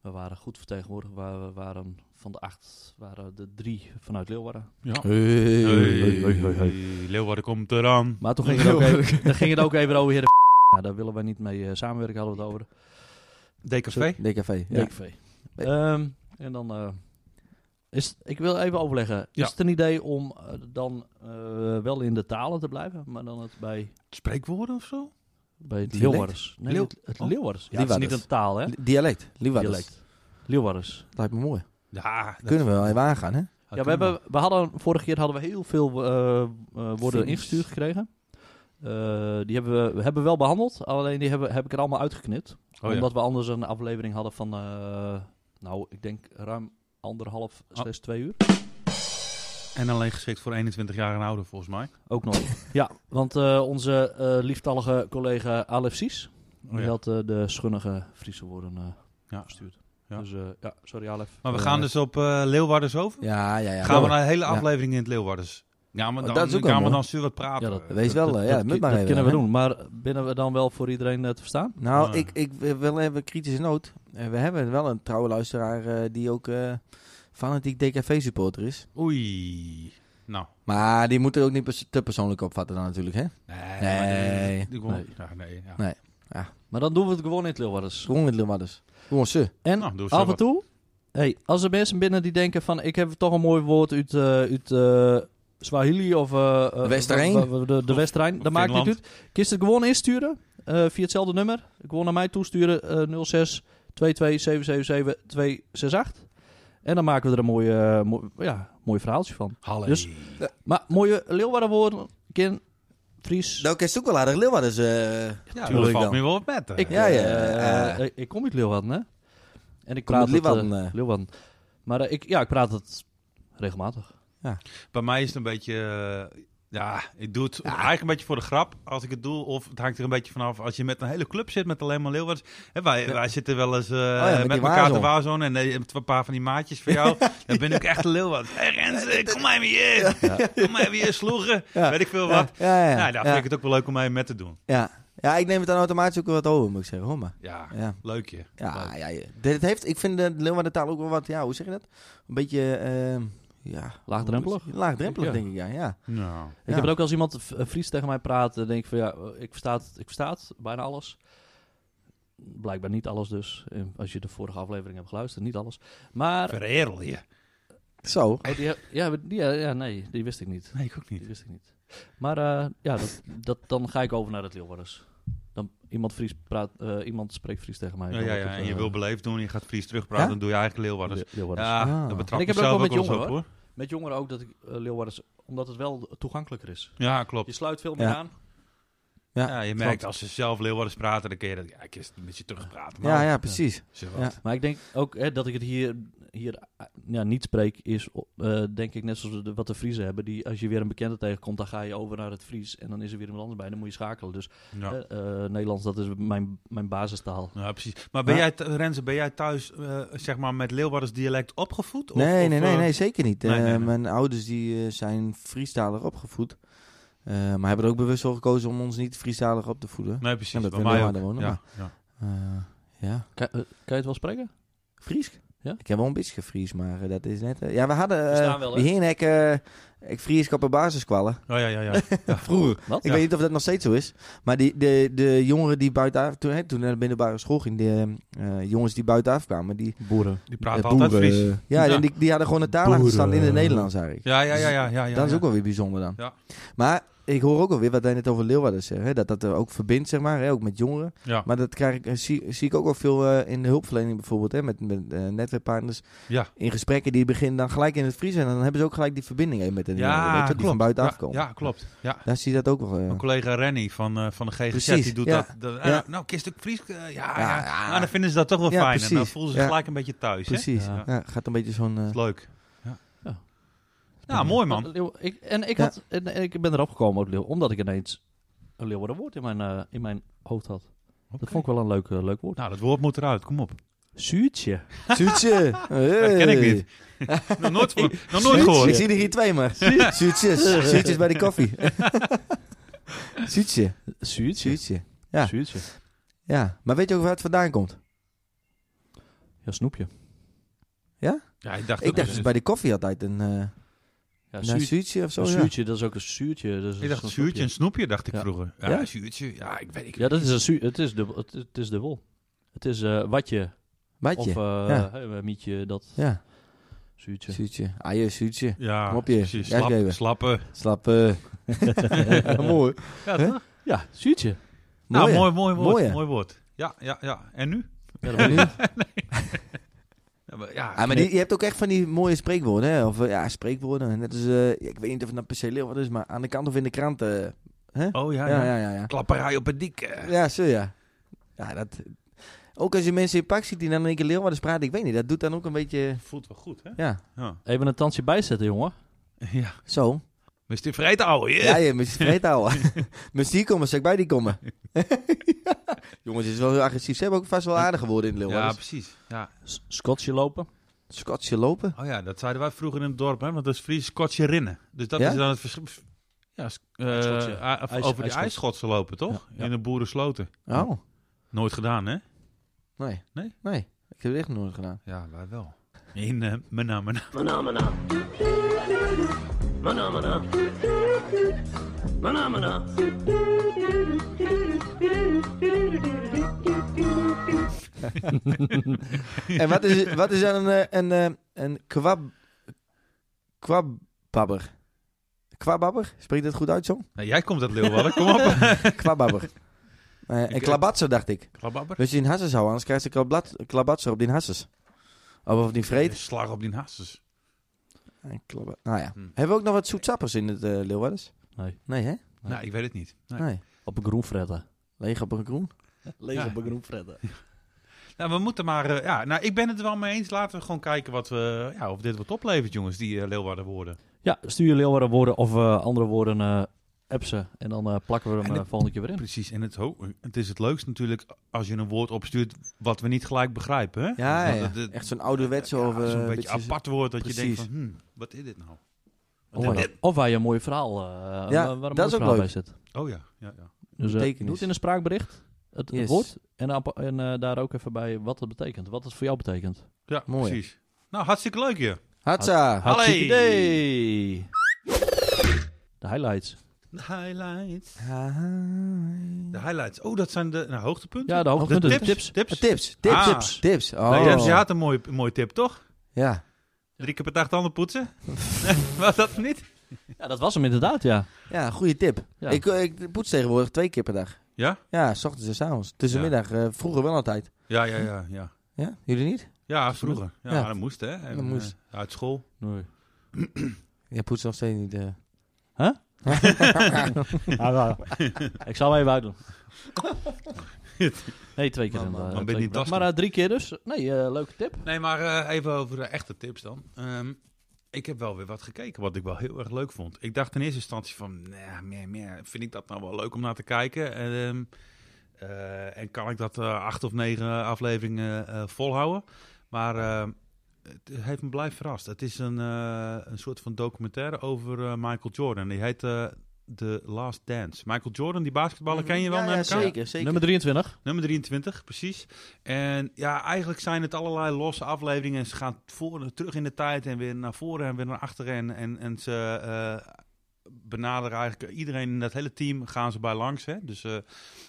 A: We waren goed vertegenwoordigd. We wa- waren van de acht, waren de drie vanuit Leeuwarden.
B: Ja.
C: hey.
B: Leeuwarden komt eraan.
A: Maar toen ging het ook even, dan ging het ook even over heer de Nou, daar willen wij niet mee eh, samenwerken, hadden we het over.
B: DKV?
C: DKV, ja.
A: DKV. Ehm, en dan... eh, is, ik wil even overleggen.
B: Ja.
A: Is het een idee om eh, dan eh, wel in de talen te blijven, maar dan het bij
B: Spreekwoorden of zo?
A: Bij het
C: Dialect?
A: Leeuwarders. Nee,
B: Leeuw- oh.
A: het, het Leeuwarders. Ja, het is
C: Leeuwarders.
A: niet een taal, hè?
C: Li- Dialect, Liwaders.
A: Dialect. Leeuwarders.
B: Ah,
C: Dat lijkt me mooi.
B: Ja, dat-
C: Kunnen we wel even aangaan, hè?
A: Ja, we hebben, we hadden, vorige keer hadden we heel veel eh, eh, woorden
C: Vingers.
A: ingestuurd gekregen. Eh, die hebben we, we hebben wel behandeld, alleen die hebben, heb ik er allemaal uitgeknipt.
B: Oh, ja.
A: omdat we anders een aflevering hadden van, eh, nou, ik denk ruim anderhalf,
B: Ah.
A: slechts twee uur.
B: En alleen geschikt voor 21 jaar en ouder, volgens mij.
A: Ook nog. ja, want eh, onze eh lieftallige collega Alef Sies,
B: Oh,
A: die
B: ja.
A: had eh, de schunnige Friese woorden eh
B: Ja.
A: gestuurd.
B: Ja.
A: Dus eh, ja, sorry Alef.
B: Maar we
A: Eh,
B: gaan dus op eh Leeuwarders over.
C: Ja, ja, ja.
B: gaan we
C: Door.
B: naar een hele
C: Ja.
B: aflevering in het Leeuwarders. Ja, maar
C: Oh,
B: dan
C: dat is ook wel
B: gaan we
C: mooi.
B: dan zuur wat praten.
A: Ja, dat-
C: Wees wel, eh, ja, dat
A: ki-
C: moet maar even.
A: kunnen we
C: hè.
A: doen, maar binnen we dan wel voor iedereen eh, te verstaan?
C: Nou,
B: Ah.
C: ik, ik wil even kritische noot. Eh, we hebben wel een trouwe luisteraar eh, die ook eh, fanatiek DKV-supporter is.
B: Oei. Nou.
C: Maar die moet er ook niet pers- te persoonlijk opvatten dan natuurlijk, hè?
B: Nee.
C: Nee.
B: maar die- die-
A: Nee.
B: Ja, nee, ja.
C: Nee.
A: Maar dan doen we het gewoon in het Leeuwarders.
C: Gewoon met Leeuwarders. Gewoon ze.
A: En
B: Nou, doe zo
A: af en
B: wat.
A: toe, hey, als er mensen binnen die denken van... ik heb toch een mooi woord uit, eh, uit eh, Swahili of... eh, eh,
C: Westerijn?
A: wa- wa- De, de
B: Of-
A: Westerijn,
B: of
A: dat maakt niet uit.
B: Finland.
A: Kun je het gewoon insturen eh, via hetzelfde nummer. Gewoon naar mij toesturen, eh 06 22 777 268. En dan maken we er een mooie, eh, mooi, ja, mooi verhaaltje van.
B: Halle.
A: Dus- Maar mooie Leeuwardenwoorden, Kin, Fries...
C: Nou, ik is ook wel aardig Leeuwarders. eh
B: ja,
C: tuurlijk
B: dat valt
C: dan.
B: me wel op met. hè.
A: Ik,
C: Ja, ja,
A: eh,
C: eh.
A: ik- ik kom uit Leeuwarden, hè? En ik
C: Kom
A: praat
C: uit
A: het, eh,
C: Leeuwarden, eh.
A: Leeuwarden. Maar eh, ik, ja, ik praat het regelmatig.
B: Bij mij is het een beetje... eh, ja, ik doe het eigenlijk een beetje voor de grap als ik het doe. Of het hangt er een beetje vanaf als je met een hele club zit met alleen maar Leeuwarders. Hè, wij, wij zitten wel eens eh,
C: met
B: met,
C: die
B: elkaar te
C: waarzone.
B: waarzone. En eh, je hebt een paar van die maatjes voor jou. Dan ben ik echt een Leeuwarder. Hé Renze, kom maar even hier. Kom maar even hier sloegen.
C: Ja.
B: Weet ik veel
C: ja,
B: wat.
C: ja, ja.
B: nou, daar
C: ja,
B: vind ik het ook wel leuk om mee met te doen.
C: ja. Ja, ik neem het dan automatisch ook wel wat over, moet ik zeggen. Hoor maar.
B: Ja,
C: Ja.
B: leuk je.
C: Ja, ja, ja. Dit heeft, ik vind de Leeuwarden taal ook wel wat, ja, hoe zeg je dat? Een beetje, ehm ja...
A: Laagdrempelig.
C: Laagdrempelig,
A: Ja.
C: denk ik, ja. ja.
B: Nou.
A: Ik heb het ook als iemand v- eh, Fries tegen mij praat, dan denk ik van ja, eh, ik versta, het- ik versta het, bijna alles. Blijkbaar niet alles dus. En Als je de vorige aflevering hebt geluisterd, niet alles. Maar,
B: Vererel je.
C: Zo.
A: oh, die, heb- ja, die- ja, ja, nee, die wist ik niet.
B: Nee, ik ook
A: Die wist ik niet. Maar eh, ja, dat, dat, dan ga ik over naar het Leeuwarders. Dan iemand, Fries praat, eh, iemand spreekt Fries tegen mij.
B: Oh, Ja,
A: Dan
B: ja,
A: wordt
B: ja.
A: het,
B: En je
A: eh,
B: wil beleefd doen, je gaat Fries terugpraten,
C: Ja?
B: dan doe je eigenlijk Leeuwarders.
A: Le- Leeuwarders.
B: Ja,
C: Ah.
B: dat
A: En
B: betrap
A: ik
B: ik
A: heb het ook
B: zelf
A: wel
B: ook
A: met
B: wel eens op,
A: jongeren,
B: hoor.
A: Met jongeren ook dat ik eh, Leeuwarders, omdat het wel toegankelijker is.
B: Ja, klopt.
A: Je sluit veel meer
C: Ja.
A: aan.
C: Ja,
B: Ja, je merkt als ze zelf Leeuwarders praten, dan kun je dat... Ja, ik is het een beetje terugpraten.
C: Ja, ja, precies. Ja.
A: Maar ik denk ook hè, dat ik het hier, hier eh, ja, niet spreek, is eh, denk ik net zoals de- wat de Friese hebben. Die, als je weer een bekende tegenkomt, dan ga je over naar het Fries en dan is er weer iemand anders bij. Dan moet je schakelen. Dus
B: Ja.
A: eh, eh, Nederlands, dat is mijn, mijn basistaal.
B: Ja, precies. Maar ben
C: Ja.
B: jij, th- Renze, ben jij thuis eh, zeg maar met Leeuwarders dialect opgevoed? Of,
C: nee,
B: of,
C: nee, nee,
B: eh,
C: nee, zeker niet.
B: nee,
C: Eh,
B: nee, nee.
C: Mijn ouders die, eh, zijn Friestalig opgevoed. Eh, maar hebben er ook bewust voor gekozen om ons niet Friestalig op te voeden.
B: Nee, precies.
C: Ja, dat
B: bij
C: we
B: mij ook.
C: Leeuwarden wonen,
B: Ja, ja.
C: Eh, ja.
A: Kan, eh, kan je het wel spreken?
C: Fries?
A: Ja?
C: Ik heb wel een beetje Fries, maar eh, dat is net... eh, ja, we hadden...
A: Verstaan
C: eh
A: wel, hè?
C: die Heenhek, eh, ik Fries op een basiskwallen.
B: Oh, ja, ja, ja.
C: Vroeger.
A: Wat?
C: Ik
B: Ja.
C: weet niet of dat nog steeds zo is. Maar die, de, de jongeren die buitenaf... Toen, hè, toen naar de middelbare school ging, de eh, jongens die buitenaf kwamen, die...
A: Boeren.
B: Die praten
C: eh,
B: altijd
C: boeren,
B: Fries.
C: eh, Ja,
B: Ja.
C: Die, die hadden gewoon een taal achter staan in het Nederlands eigenlijk.
B: Ja, ja, ja, ja. ja, ja
C: dat is
B: ja.
C: ook wel weer bijzonder dan.
B: Ja.
C: Maar ik hoor ook alweer wat hij net over Leeuwarden zegt. Hè? Dat dat er ook verbindt, zeg maar. Hè? Ook met jongeren.
B: Ja.
C: Maar dat krijg ik, eh, zie, zie ik ook wel veel eh, in de hulpverlening bijvoorbeeld. Hè? Met, met eh, netwerkpartners.
B: Ja.
C: In gesprekken die beginnen dan gelijk in het Fries. En dan hebben ze ook gelijk die verbinding even met de jongeren. weet eh, je,
B: Ja,
C: die van buitenaf
B: Ja,
C: komen.
B: ja, klopt. Ja.
C: Daar zie je dat ook wel. eh.
B: Mijn collega Rennie van, eh, van de GGZ,
C: Precies,
B: die doet
C: ja.
B: dat. dat- eh,
C: Ja.
B: Nou, kist ook Fries. eh, ja, ja,
C: Ja, ja.
B: Nou, dan vinden ze dat toch wel
C: Ja,
B: fijn. En dan
C: precies.
B: voelen ze
C: Ja.
B: gelijk een beetje thuis. Hè?
C: Precies.
A: Ja.
C: Ja. gaat een beetje zo'n... eh,
B: Dat is leuk. Ja.
A: Ja.
B: Nou, mooi man.
A: Leeuw- ik, en, ik
C: Ja.
A: had, en, en ik ben erop gekomen, ook Leeuw, omdat ik ineens een Leeuwarden woord in mijn, eh, in mijn hoofd had. Dat vond ik wel een leuk, eh, leuk woord.
B: Nou, dat woord moet eruit. Kom op.
A: Zuurtje.
C: Zuurtje.
B: Dat ken ik
C: Hey.
B: niet. Nog nooit, van- nog nooit
C: Zuurtje. Ik
B: gehoord.
C: zie er hier twee, maar. Zuurtjes. Zuurtjes bij de koffie. Zuurtje.
A: Zuurtje.
C: Zuurtje. Ja.
A: Zuurtje.
C: Ja. Maar weet je ook waar het vandaan komt?
A: Ja, snoepje.
B: Ja, ik dacht,
C: Ik dacht
B: eh,
C: dus bij de koffie altijd een eh
A: Ja,
C: een
A: zuurtje.
C: zuurtje of zo.
A: Een
C: ja.
A: zuurtje, dat is ook een zuurtje. Dat is
B: ik dacht
A: een
B: zuurtje en snoepje, dacht ik
A: Ja.
B: vroeger. Ja,
C: Ja?
B: zuurtje. Ja, ik weet ik
A: Ja, dat is een zuur, het, is dubbel, het, het is dubbel. Het is eh, watje
C: Maatje.
A: of eh
C: ja.
A: eh, mietje, dat
C: ja,
A: zuurtje.
C: zuurtje. Ah, je zuurtje.
B: Ja,
C: Kom op je.
B: precies.
C: Ja,
B: Slap,
C: geven.
B: slappen.
C: Slap. eh. mooi.
B: Ja,
C: Hè?
B: toch?
A: Ja, zuurtje.
B: Nou,
C: Mooi, hè?
B: mooi, mooi woord.
C: Mooi,
B: Mooi,
C: hè?
B: woord. Ja, ja, ja. En nu?
A: Ja, dat
C: En
A: weet
C: nu?
A: ik.
B: Ja, maar, ja,
C: Ah, maar die, je hebt ook echt van die mooie spreekwoorden. Hè? Of eh, ja, spreekwoorden. Net als, eh, ik weet niet of het nou per se leeuw wat is, maar aan de kant of in de krant eh, Hè?
B: Oh ja,
C: ja,
B: ja.
C: ja, ja, ja.
B: Klapperij op een dik. eh.
C: Ja, zo ja. Ja, dat... Ook als je mensen in pak ziet die dan een keer Leeuwarden praten, ik weet niet, dat doet dan ook een beetje...
B: Voelt wel goed, hè?
C: Ja,
B: Ja.
A: Even een tandje bijzetten, jongen.
B: ja.
C: zo.
B: Maar is vreten, ouwe?
C: Ja, je moet je vreed houden. Moest die komen, zeg ik bij die komen. Jongens, het is wel heel agressief. Ze hebben ook vast wel aardig geworden in
B: Ja,
C: Leeuwarden.
B: precies. Ja.
A: S- Scotsje lopen.
C: Scotsje lopen.
B: Oh ja, dat zeiden wij vroeger in het dorp, hè? Want dat is Fries Scotsje rinnen. Dus dat
C: Ja?
B: is dan het verschil. Ja, s- eh,
A: Ijsschotsen.
B: a-
A: Ijs-
B: of- over die
A: ijsschotsen.
B: ijsschotsen lopen, toch?
A: Ja, ja.
B: In de boerensloten.
C: Oh,
B: Nooit gedaan, hè?
C: nee.
B: Nee?
C: Nee, ik heb het echt nooit gedaan.
B: Ja, wij wel. In eh Mena, Mena.
E: Manamana. Manamana. Manamana.
C: En wat is, wat is dan een, eh, een, eh, een kwab... Kwabbabber? Kwababber? Spreekt dat goed uit, John?
B: Nou, jij komt uit Leeuwarden, kom op.
C: Kwababber. Eh en
B: Ik-
C: klabatser, dacht ik.
B: Klababber.
C: Dus je in Hasses houden, anders krijgt ze klablat, klabatser op die Hasses. Of op die
B: De
C: vreed.
B: Slag op die hasses.
C: En klabba- Nou ja.
B: Hm.
C: Hebben we ook nog wat zoetsappers in het eh Leeuwarders?
A: Nee.
C: Nee, hè?
A: Nee.
B: Nou, ik weet het niet. Nee.
C: Nee.
A: Op een groenfretten.
C: Leeg op een groen.
A: Lees
B: Ja.
A: op een groenfretten.
B: Nou, we moeten maar... eh, ja, nou, ik ben het er wel mee eens. Laten we gewoon kijken wat we, ja, of dit wat oplevert, jongens, die eh, Leeuwarden worden.
A: Ja, stuur je Leeuwarden woorden of eh, andere woorden eh app ze. En dan eh, plakken we hem
B: En de-
A: eh, volgende keer weer in.
B: Precies. En het, ho- het is het leukst natuurlijk als je een woord opstuurt wat we niet gelijk begrijpen, hè?
C: Ja,
B: Want
C: ja.
B: het- het-
C: Echt zo'n ouderwetse
B: Ja,
C: of... eh,
B: zo'n beetje apart woord dat je
C: precies.
B: denkt van, hmm, wat is dit nou?
A: Of, waar je- of waar je een mooi verhaal, eh
C: Ja,
A: waar een mooi
C: dat is ook
A: verhaal
C: leuk.
A: bij zit.
B: Oh ja, ja, ja.
A: Dus eh,
C: Betekenis.
A: doe het in een spraakbericht. Het, het
C: Yes.
A: woord. En, appa- en eh, daar ook even bij wat het betekent. Wat het voor jou betekent.
B: ja
C: Mooi.
B: precies. Nou, hartstikke leuk je.
C: Hatsa!
B: Hallo.
A: Hartstikke idee. De highlights.
B: De highlights.
C: Hi.
B: De highlights. Oh, dat zijn de nou, hoogtepunten?
A: Ja, de hoogtepunten.
B: De
A: De
B: tips.
A: tips.
B: tips.
C: Eh, Tips, tips,
B: Ah.
C: tips, tips. Oh.
B: Nou, je, je had een mooie, een mooie tip, toch?
C: Ja.
B: Drie keer per dag tanden poetsen? Nee, Was dat niet?
A: Ja, dat was hem inderdaad, ja.
C: Ja, goede tip.
A: Ja.
C: Ik, eh, ik poets tegenwoordig twee keer per dag.
B: Ja?
C: Ja, s ochtends en s avonds. Tussenmiddag, eh, vroeger wel altijd.
B: Ja, ja, ja. Ja,
C: Ja, jullie niet?
B: ja vroeger. Ja,
C: Ja.
B: dat moest, hè? En,
C: Dat moest.
B: eh, uit school.
A: Nee.
C: Jij poetst nog steeds niet. eh.
A: Ik zal hem even uitdoen. Nee, twee keer
C: Man,
A: inderdaad.
C: man,
B: man, ben
A: Twee
B: je
A: keer.
B: niet lastig.
A: Maar eh, drie keer dus. Nee, eh, leuke tip.
B: Nee, maar eh, even over de echte tips dan. Ehm, ik heb wel weer wat gekeken, wat ik wel heel erg leuk vond. Ik dacht in eerste instantie van, nee, meer, meer, vind ik dat nou wel leuk om naar te kijken? Ehm, eh, en kan ik dat eh, acht of negen afleveringen eh, volhouden? Maar ehm, het heeft me blij verrast. Het is een, eh, een soort van documentaire over eh, Michael Jordan. Die heet eh, The Last Dance. Michael Jordan, die basketballer, ken je wel?
C: Mhm. Ja,
B: neem
C: ja,
B: ik aan?
C: zeker, zeker.
A: Nummer 23.
B: Nummer 23, precies. En ja, eigenlijk zijn het allerlei losse afleveringen. En ze gaan voor, en terug in de tijd en weer naar voren en weer naar achteren. En, en, en ze eh, benaderen eigenlijk iedereen in dat hele team gaan ze bij langs. Hè? Dus eh,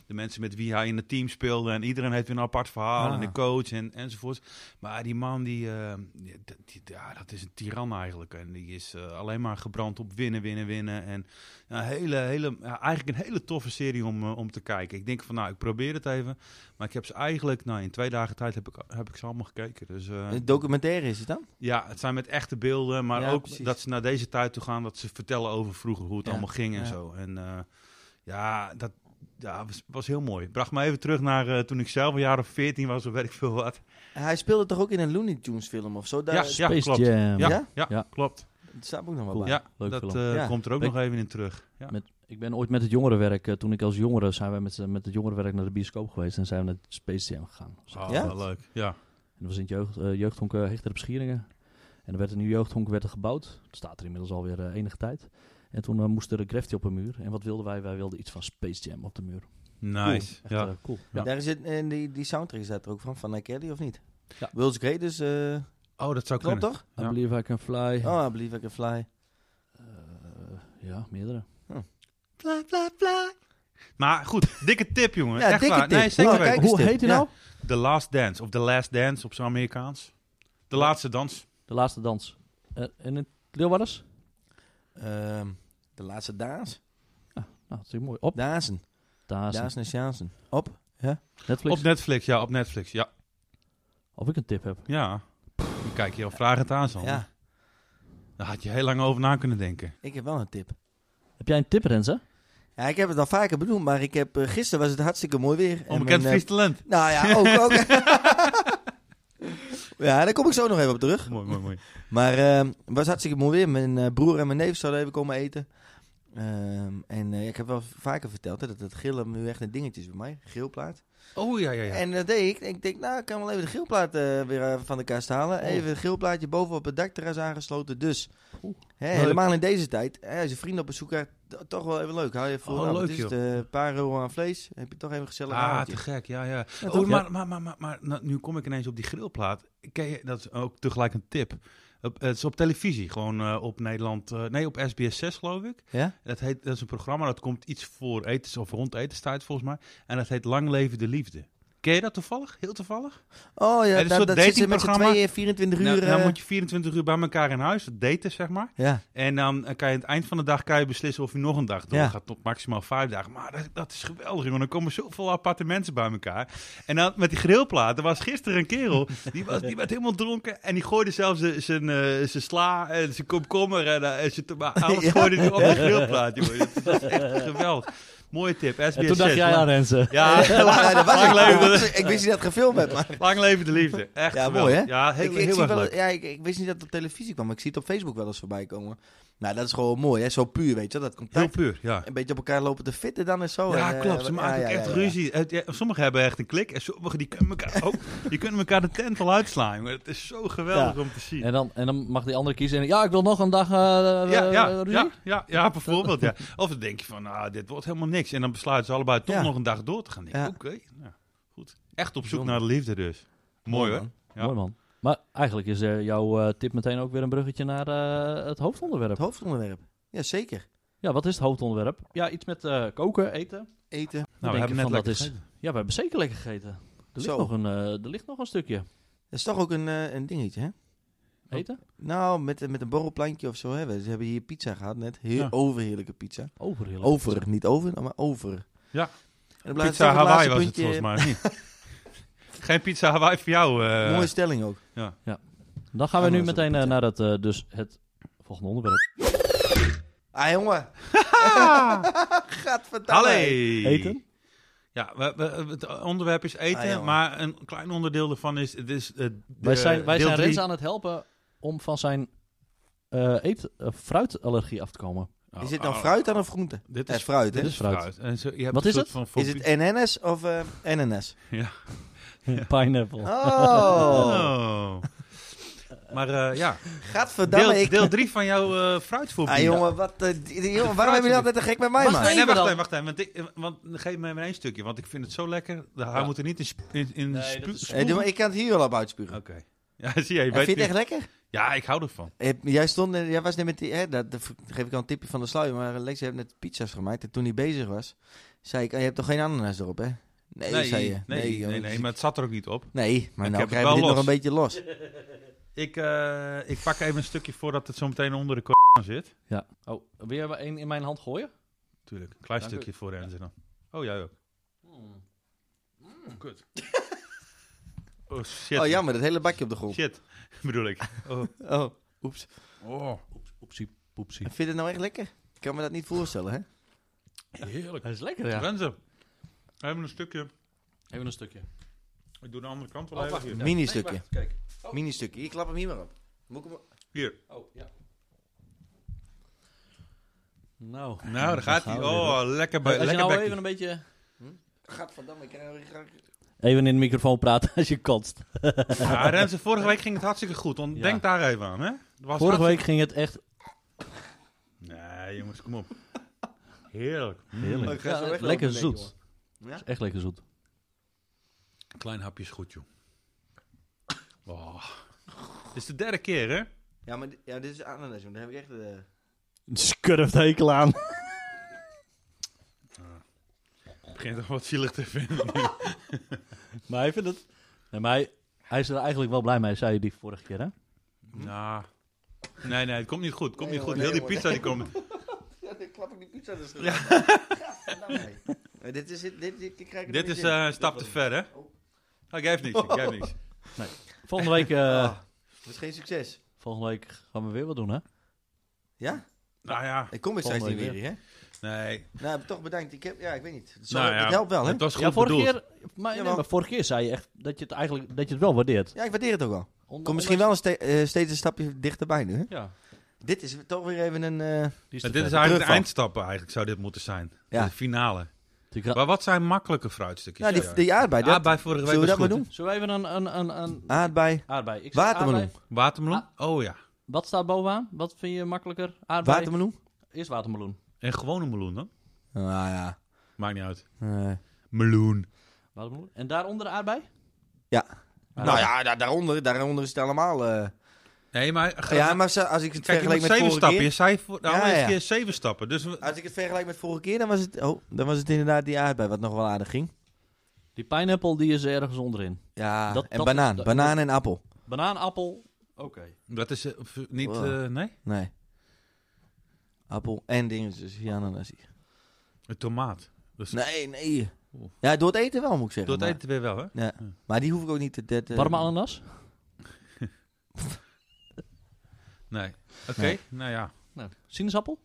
B: de mensen met wie hij in het team speelde. En iedereen heeft weer een apart verhaal.
C: Ah.
B: En de coach en, enzovoort. Maar die man, die, eh, die- die- ja, dat is een tiran eigenlijk. En die is eh, alleen maar gebrand op winnen, winnen, winnen. En ja, een hele, hele, ja, eigenlijk een hele toffe serie om, eh, om te kijken. Ik denk van, nou, ik probeer het even. Maar ik heb ze eigenlijk, nou, in twee dagen tijd heb ik, heb ik ze allemaal gekeken. Dus, eh,
C: Een documentaire is het dan?
B: ja, het zijn met echte beelden, maar
C: Ja,
B: ook
C: precies.
B: dat ze naar deze tijd toe gaan, dat ze vertellen over vroeger hoe het
C: Ja,
B: allemaal ging en
C: ja.
B: zo. En eh, ja, dat ja, was, was heel mooi. Het bracht me even terug naar eh, toen ik zelf een jaar of 14 was, of weet ik veel wat.
C: Hij speelde toch ook in een Looney Tunes film of zo? Daar,
B: Ja, ja,
A: Space
B: klopt.
A: Jam.
B: Ja,
C: Ja?
B: ja?
A: Ja.
B: klopt.
C: daar staat ook nog wel
A: Cool.
C: bij.
B: Ja,
A: leuk
B: dat
A: film.
B: eh,
C: Ja.
B: komt er ook
A: Ik-
B: nog even in terug. Ja.
A: Met- Ik ben ooit met het jongerenwerk, eh, toen ik als jongere, zijn wij met, z'n- met het jongerenwerk naar de bioscoop geweest. En zijn we naar Space Jam gegaan. Dus
B: Oh,
C: Ja?
B: wel leuk. Ja.
A: En dat was in het jeugd, eh, jeugdhonk eh, Hechter op Schieringen. En er werd een nieuw jeugdhonk werd er gebouwd. Dat staat er inmiddels alweer eh, enige tijd. En toen eh, moest er een graffiti op een muur. En wat wilden wij? Wij wilden iets van Space Jam op de muur.
B: Nice.
A: Echt
B: ja.
A: eh, cool. Ja.
C: Daar is het, en die, die soundtrack staat er ook van, van R. Kelly of niet?
A: Ja.
C: World's Great, dus eh
B: Oh, dat zou kunnen.
C: klopt toch?
A: I believe I can fly.
B: Ah.
C: Oh, I Believe I Can Fly.
A: Eh, ja, meerdere.
B: Bla, bla, bla. Maar goed, dikke tip, jongen.
C: Ja,
B: Echt
C: dikke
B: waar.
C: tip.
B: Nee, zeker
C: Oh,
B: weten.
C: kijk eens
A: Hoe
C: dit.
A: heet die
C: Ja.
A: nou?
B: The Last Dance, of The Last Dance op zijn Amerikaans. De laatste dans.
A: De laatste dans. Eh, en in Leeuwarders?
C: Ehm, de laatste Daas.
A: Nou, dat is mooi. Op.
C: Dazen.
A: Daar is
C: Dazen en Sjaansen. Op. Ja.
A: het. Netflix.
B: Op Netflix, ja, op Netflix. Ja,
A: Of ik een tip heb.
B: ja. Dan kijk je al vragend aan, Sander.
C: ja.
B: Daar had je heel lang over na kunnen denken.
C: Ik heb wel een tip.
A: Heb jij een tip, Renze?
C: Ja, ik heb het al vaker benoemd, maar ik heb, eh, gisteren was het hartstikke mooi weer. En
B: Onbekend
C: mijn, eh,
B: Fries talent.
C: Nou ja, ook. ook. ja, daar kom ik zo nog even op terug.
B: Mooi, mooi, mooi.
C: Maar ehm, het was hartstikke mooi weer. Mijn eh, broer en mijn neef zouden even komen eten. Ehm, en eh, ik heb wel vaker verteld hè, dat het gillen nu echt een dingetje is bij mij. Geelplaat.
B: Oh ja, ja, ja.
C: En dat deed ik. Ik denk, nou, ik kan wel even de geelplaat eh, weer eh, van de kast halen.
A: Oh.
C: Even het geelplaatje boven op het dakterras aangesloten. Dus
A: Oeh.
C: hè,
B: Nou,
A: Leuk.
C: helemaal in deze tijd, hè, als je vrienden op bezoek krijgt, to- toch wel even leuk. Hou je voor
B: Oh,
C: nou, wat
B: leuk,
C: is het, eh, een paar euro aan vlees. Heb je toch even een gezellig
B: Ah,
C: avondje.
B: te gek, ja, ja.
C: Ja,
B: Oh,
C: toch?
B: maar, maar, maar, maar, maar nou, nu kom ik ineens op die grillplaat. Ken je, dat is ook tegelijk een tip. Op, het is op televisie, gewoon eh, op Nederland. eh, nee, op SBS 6 geloof ik.
C: Ja?
B: Dat, heet, dat is een programma dat komt iets voor etens of rond etenstijd volgens mij. En dat heet Lang Leven de Liefde. Ken je dat toevallig? Heel toevallig?
C: Oh ja,
B: Het is
C: dat,
B: zo'n
C: dat zit ze met z'n
B: datingprogramma.
C: tweeën 24 uur.
B: Nou,
C: eh,
B: nou moet je 24 uur bij elkaar in huis daten, zeg maar.
C: Ja,
B: En dan eh, kan je aan het eind van de dag kan je beslissen of je nog een dag
C: Ja.
B: doorgaat. Tot maximaal vijf dagen. Maar dat, dat is geweldig, jongen. Dan komen zoveel appartementen bij elkaar. En dan met die grillplaat. Er was gisteren een kerel. Die, was, die werd helemaal dronken. En die gooide zelfs zijn- zijn eh, zijn sla en zijn komkommer. En, eh, en zijn toma- alles
C: Ja.
B: gooide die op de grillplaat, jongen. Dat is echt geweldig. Mooie tip. SBS
A: En toen dacht
B: 6,
A: jij
B: lang-
A: aan Renze.
B: Ja,
C: Ja, dat was ik.
B: Lang leven.
C: Dat was- Ik wist niet dat het gefilmd werd, maar...
B: lang leven de liefde. Echt
C: Ja,
B: geweldig.
C: mooi, hè?
B: Ja, heel,
C: ik, ik,
B: heel
C: zie
B: erg
C: wel,
B: leuk.
C: ja ik, ik wist niet dat het op televisie kwam, maar ik zie het op Facebook wel eens voorbij komen. Nou, dat is gewoon mooi, hè? Zo puur, weet je wel, Dat
B: Heel
C: contact.
B: puur, ja.
C: Een beetje op elkaar lopen te fitten dan en zo.
B: Ja,
C: en, eh,
B: klopt. Ze
C: ja,
B: maken
C: ja,
B: ook
C: ja,
B: echt
C: ja.
B: ruzie. Het- ja, sommigen hebben echt een klik en sommigen die kunnen elkaar, oh, die kunnen elkaar de tent al uitslaan. Maar het is zo geweldig om te zien.
A: En dan, en dan mag die andere kiezen. En, ja, ik wil nog een dag eh
B: ja,
A: eh,
B: ja,
A: ruzie.
B: ja, ja, ja, bijvoorbeeld. Ja. Of dan denk je van, ah, dit wordt helemaal niks. En dan besluiten ze allebei toch
C: Ja.
B: nog een dag door te gaan. Denk ik,
C: Ja.
B: Oké, nou, goed. Echt op zoek
A: Bijzonder.
B: naar de liefde dus. Mooi hoor.
C: man.
B: Ja.
A: Mooi man. Maar eigenlijk is eh, jouw eh, tip meteen ook weer een bruggetje naar eh, het hoofdonderwerp.
C: Het hoofdonderwerp. Ja, zeker.
A: Ja, wat is het hoofdonderwerp? Ja, iets met eh, koken, eten.
C: Eten.
A: Nou,
B: we hebben net
A: dat
B: lekker
A: is.
B: gegeten.
A: Ja, we hebben zeker lekker gegeten. Er ligt,
C: Zo.
A: nog een, eh, er ligt nog een stukje.
C: Dat is toch ook een, eh, een dingetje, hè?
A: Eten?
C: Nou, met, met een borrelplankje of zo. Hè? We ze hebben hier pizza gehad net. Heel
B: Ja.
C: overheerlijke pizza.
A: Oh. Overheerlijk.
C: Over, niet over, maar over.
B: Ja.
C: En dan blijft
B: Pizza
C: toch het
B: Hawaii
C: laatste
B: was het
C: puntje-
B: volgens mij. of niet? Geen pizza Hawaii voor jou. eh.
C: Mooie stelling ook.
A: Dan gaan we
C: Gaan we
A: nu
C: eens op de
A: meteen eh,
C: pizza.
A: naar het, eh, dus het volgende onderwerp.
C: Ah, jongen. Gadverdamme.
B: Allee.
A: Eten?
B: Ja, we, we- het onderwerp is eten,
C: Ah, ja, man.
B: maar een klein onderdeel ervan is... Het is eh, de-
A: wij zijn, wij
B: deel
A: zijn
B: drie.
A: Rens aan het helpen om van zijn eh, eet, eh, fruitallergie af te komen.
B: Oh,
C: Is dit nou
B: oh,
C: fruit dan of groente?
B: Dit
C: Het
B: is
C: is fruit,
A: dit
C: hè?
A: is fruit.
B: En zo, je hebt
A: Wat
B: een
A: is
B: soort
A: het?
B: Van
C: Is
B: fobie-
C: het NNS of eh, NNS?
A: Pineapple.
C: Oh,
B: Oh. maar eh, ja,
C: gadverdamme.
B: deel,
C: Ik...
B: deel drie van jouw eh fruitvoorbeeld.
C: Ah, jongen, wat, eh, die- die- jongen, waarom heb je altijd een gek met mij,
A: Wacht,
C: man?
B: Nee, nee, wacht
A: dan.
B: even, wacht even. Want, ik, want geef me maar één stukje, want ik vind het zo lekker. De haar
A: Ja.
B: moet er niet in, sp- in, in
A: Nee,
B: spu-
A: dat is-
B: spoelen.
C: Eh, doe maar, ik kan het hier wel op
B: Oké.
C: uitspugen.
B: Ja, zie je, je
C: Eh, Vind je
B: weet
C: het
B: niet.
C: echt lekker?
B: Ja, ik hou ervan.
C: Eh, Jij, stond, net- jij was net met die... Hè, dat, dat geef ik al een tipje van de sluier, maar Lex heeft net pizza's gemaakt. En toen hij bezig was, zei ik, eh, je hebt toch geen ananas erop, hè? Nee, zei je.
B: nee, nee,
C: joh,
B: nee,
C: dat
B: nee,
C: is-
B: maar het zat er ook niet op.
C: Nee, maar
B: Ik
C: nou
B: heb het
C: krijgen we
B: wel
C: dit nog
B: los.
C: een beetje los.
B: Ik, eh, ik pak even een stukje voordat het zo meteen onder de k zit.
A: Ja. Oh, wil jij één in mijn hand gooien?
B: Tuurlijk, een klein
A: Dank u.
B: stukje voor Renze dan. Oh, jij ook. Kut. oh, shit.
C: Oh, jammer, dat hele bakje op de grond.
B: Shit, bedoel ik. Oh.
C: Oh, oeps.
B: oh.
A: Oepsie, poepsie.
C: Vind je het nou echt lekker? Ik kan me dat niet voorstellen, hè?
B: Heerlijk.
A: Dat is lekker,
B: Ja.
A: ja.
B: Renze, even een stukje.
A: Even een stukje.
B: Ik doe de andere kant wel
A: Oh,
B: even.
A: wacht.
B: Hier.
A: Ja.
C: Mini-stukje.
A: Nee, wacht, kijk.
C: Mini-stukje. Ik klap hem hier maar op. Moet ik hem...
B: Hier.
A: Oh, ja. Nou.
B: Nou, daar gaat hij.
A: gaan we weer, hoor.
B: Oh, lekker bij.
A: Als je
B: Lekker
A: nou
B: bekkie.
A: even een beetje...
C: Gadverdamme, ik krijg er
A: Even in de microfoon praten als je kotst.
B: Ja, Renze, vorige week ging het hartstikke goed. want
A: Ja.
B: Denk daar even aan, hè? Het Was
A: Vorige week ging het echt...
B: hartstikke- Nee, jongens, kom op. Heerlijk. Mm.
A: Heerlijk.
C: Ik ga zo
A: Ja,
C: weglopen,
A: lekker
C: denk ik,
A: zoet. Is echt lekker zoet.
B: Klein hapje is goed, joh. Oh. Dit is de derde keer, hè?
C: Ja, maar di- ja, dit is ananas, want daar heb ik echt... eh,
A: Een scurft hekel aan.
B: Ik begin toch wat zielig te vinden.
A: Maar hij vindt het... Nee, maar hij, hij is er eigenlijk wel blij mee, zei je die vorige keer, hè?
B: Nou. Nee, nee, het komt niet goed. Het komt
C: Nee,
B: niet goed.
C: jongen,
B: Heel die
C: nee,
B: pizza die komt.
C: Ja, dan klap ik die pizza dus terug. Gadverdamme. Eh, Dit is... Dit, dit, dit, ik krijg er
B: Dit
C: niet
B: is
C: in.
B: eh, een stap te ver, hè?
C: Oh.
B: Ik geef niks, ik geef niks.
A: Volgende week, eh,
C: Ah, dat is geen succes.
A: volgende week gaan we weer wat doen, hè?
C: Ja?
B: Nou ja,
C: Ik kom er steeds niet
A: Volgende
C: weer,
A: week
C: hier, hè?
B: nee.
C: Nou, toch bedankt. Ik heb, ja, ik weet niet. Het, zal-
B: nou ja,
C: het helpt wel, hè?
B: Het was goed
A: Ja, vorige
B: bedoeld.
A: keer, maar, nee,
C: Jawel.
A: maar vorige keer zei je echt dat je het, eigenlijk, dat je het wel waardeert.
C: Ja, ik waardeer het ook wel.
A: Onder-
C: Ik kom misschien wel een ste- eh, steeds een stapje dichterbij nu, hè?
A: Ja,
C: Dit is toch weer even een... eh,
A: die is
B: Nou,
A: te
B: dit is
A: vet.
B: eigenlijk de
C: terugval.
B: eindstap eigenlijk, zou dit moeten zijn.
C: Ja.
B: De finale.
A: Die gra-
B: Maar wat zijn makkelijke fruitstukjes?
C: nou, die, die aardbei.
B: ja,
C: Dat,
B: bij vorige week
C: zullen
B: was
C: we dat maar
B: goed.
C: doen?
A: Zullen we even een, een, een, een
C: Aardbei.
A: aardbei? Ik zeg
C: Watermeloen.
A: aardbei.
B: Watermeloen?
C: Ah.
B: Oh ja.
A: Wat staat bovenaan? Wat vind je makkelijker? Aardbei?
C: Watermeloen?
A: Eerst watermeloen.
B: En gewone meloen dan?
C: Ah, ja.
B: Maakt niet uit.
C: Eh,
B: Meloen.
A: watermeloen. En daaronder aardbei?
C: Ja.
A: Ah,
C: nou ja, da- daaronder, daaronder is het allemaal... eh,
B: Nee, maar... ga-
C: ja, maar zo- als ik het
B: Kijk, je
C: vergelijk
B: moet
C: met
B: zeven
C: vorige
B: stappen.
C: keer...
B: Je zei voor de
C: Ja,
B: allereerste
C: ja.
B: nou,
C: Ah,
B: keer zeven stappen. Dus we-
C: Als ik het vergelijk met vorige keer, dan was het, oh, dan was het inderdaad die aardbei wat nog wel aardig ging.
A: Die pineapple die is ergens onderin.
C: Ja,
A: Dat-
C: en
A: dat-
C: banaan.
A: dat-
C: banaan en appel.
A: Banaan, appel. Oké.
B: dat is eh, v- niet...
C: Wow.
B: eh, nee?
C: Nee. Appel en dingen, dus hier ananas.
B: Een tomaat. Dat is-
C: Nee, nee.
B: Oeh.
C: Ja, door het eten wel, moet ik zeggen.
B: Door het
C: maar,
B: eten weer wel, hè?
C: maar die hoef ik ook niet te... dat, eh,
A: Warme ananas?
B: Nee. Oké,
C: Nee.
B: nou ja.
A: Nou, sinaasappel?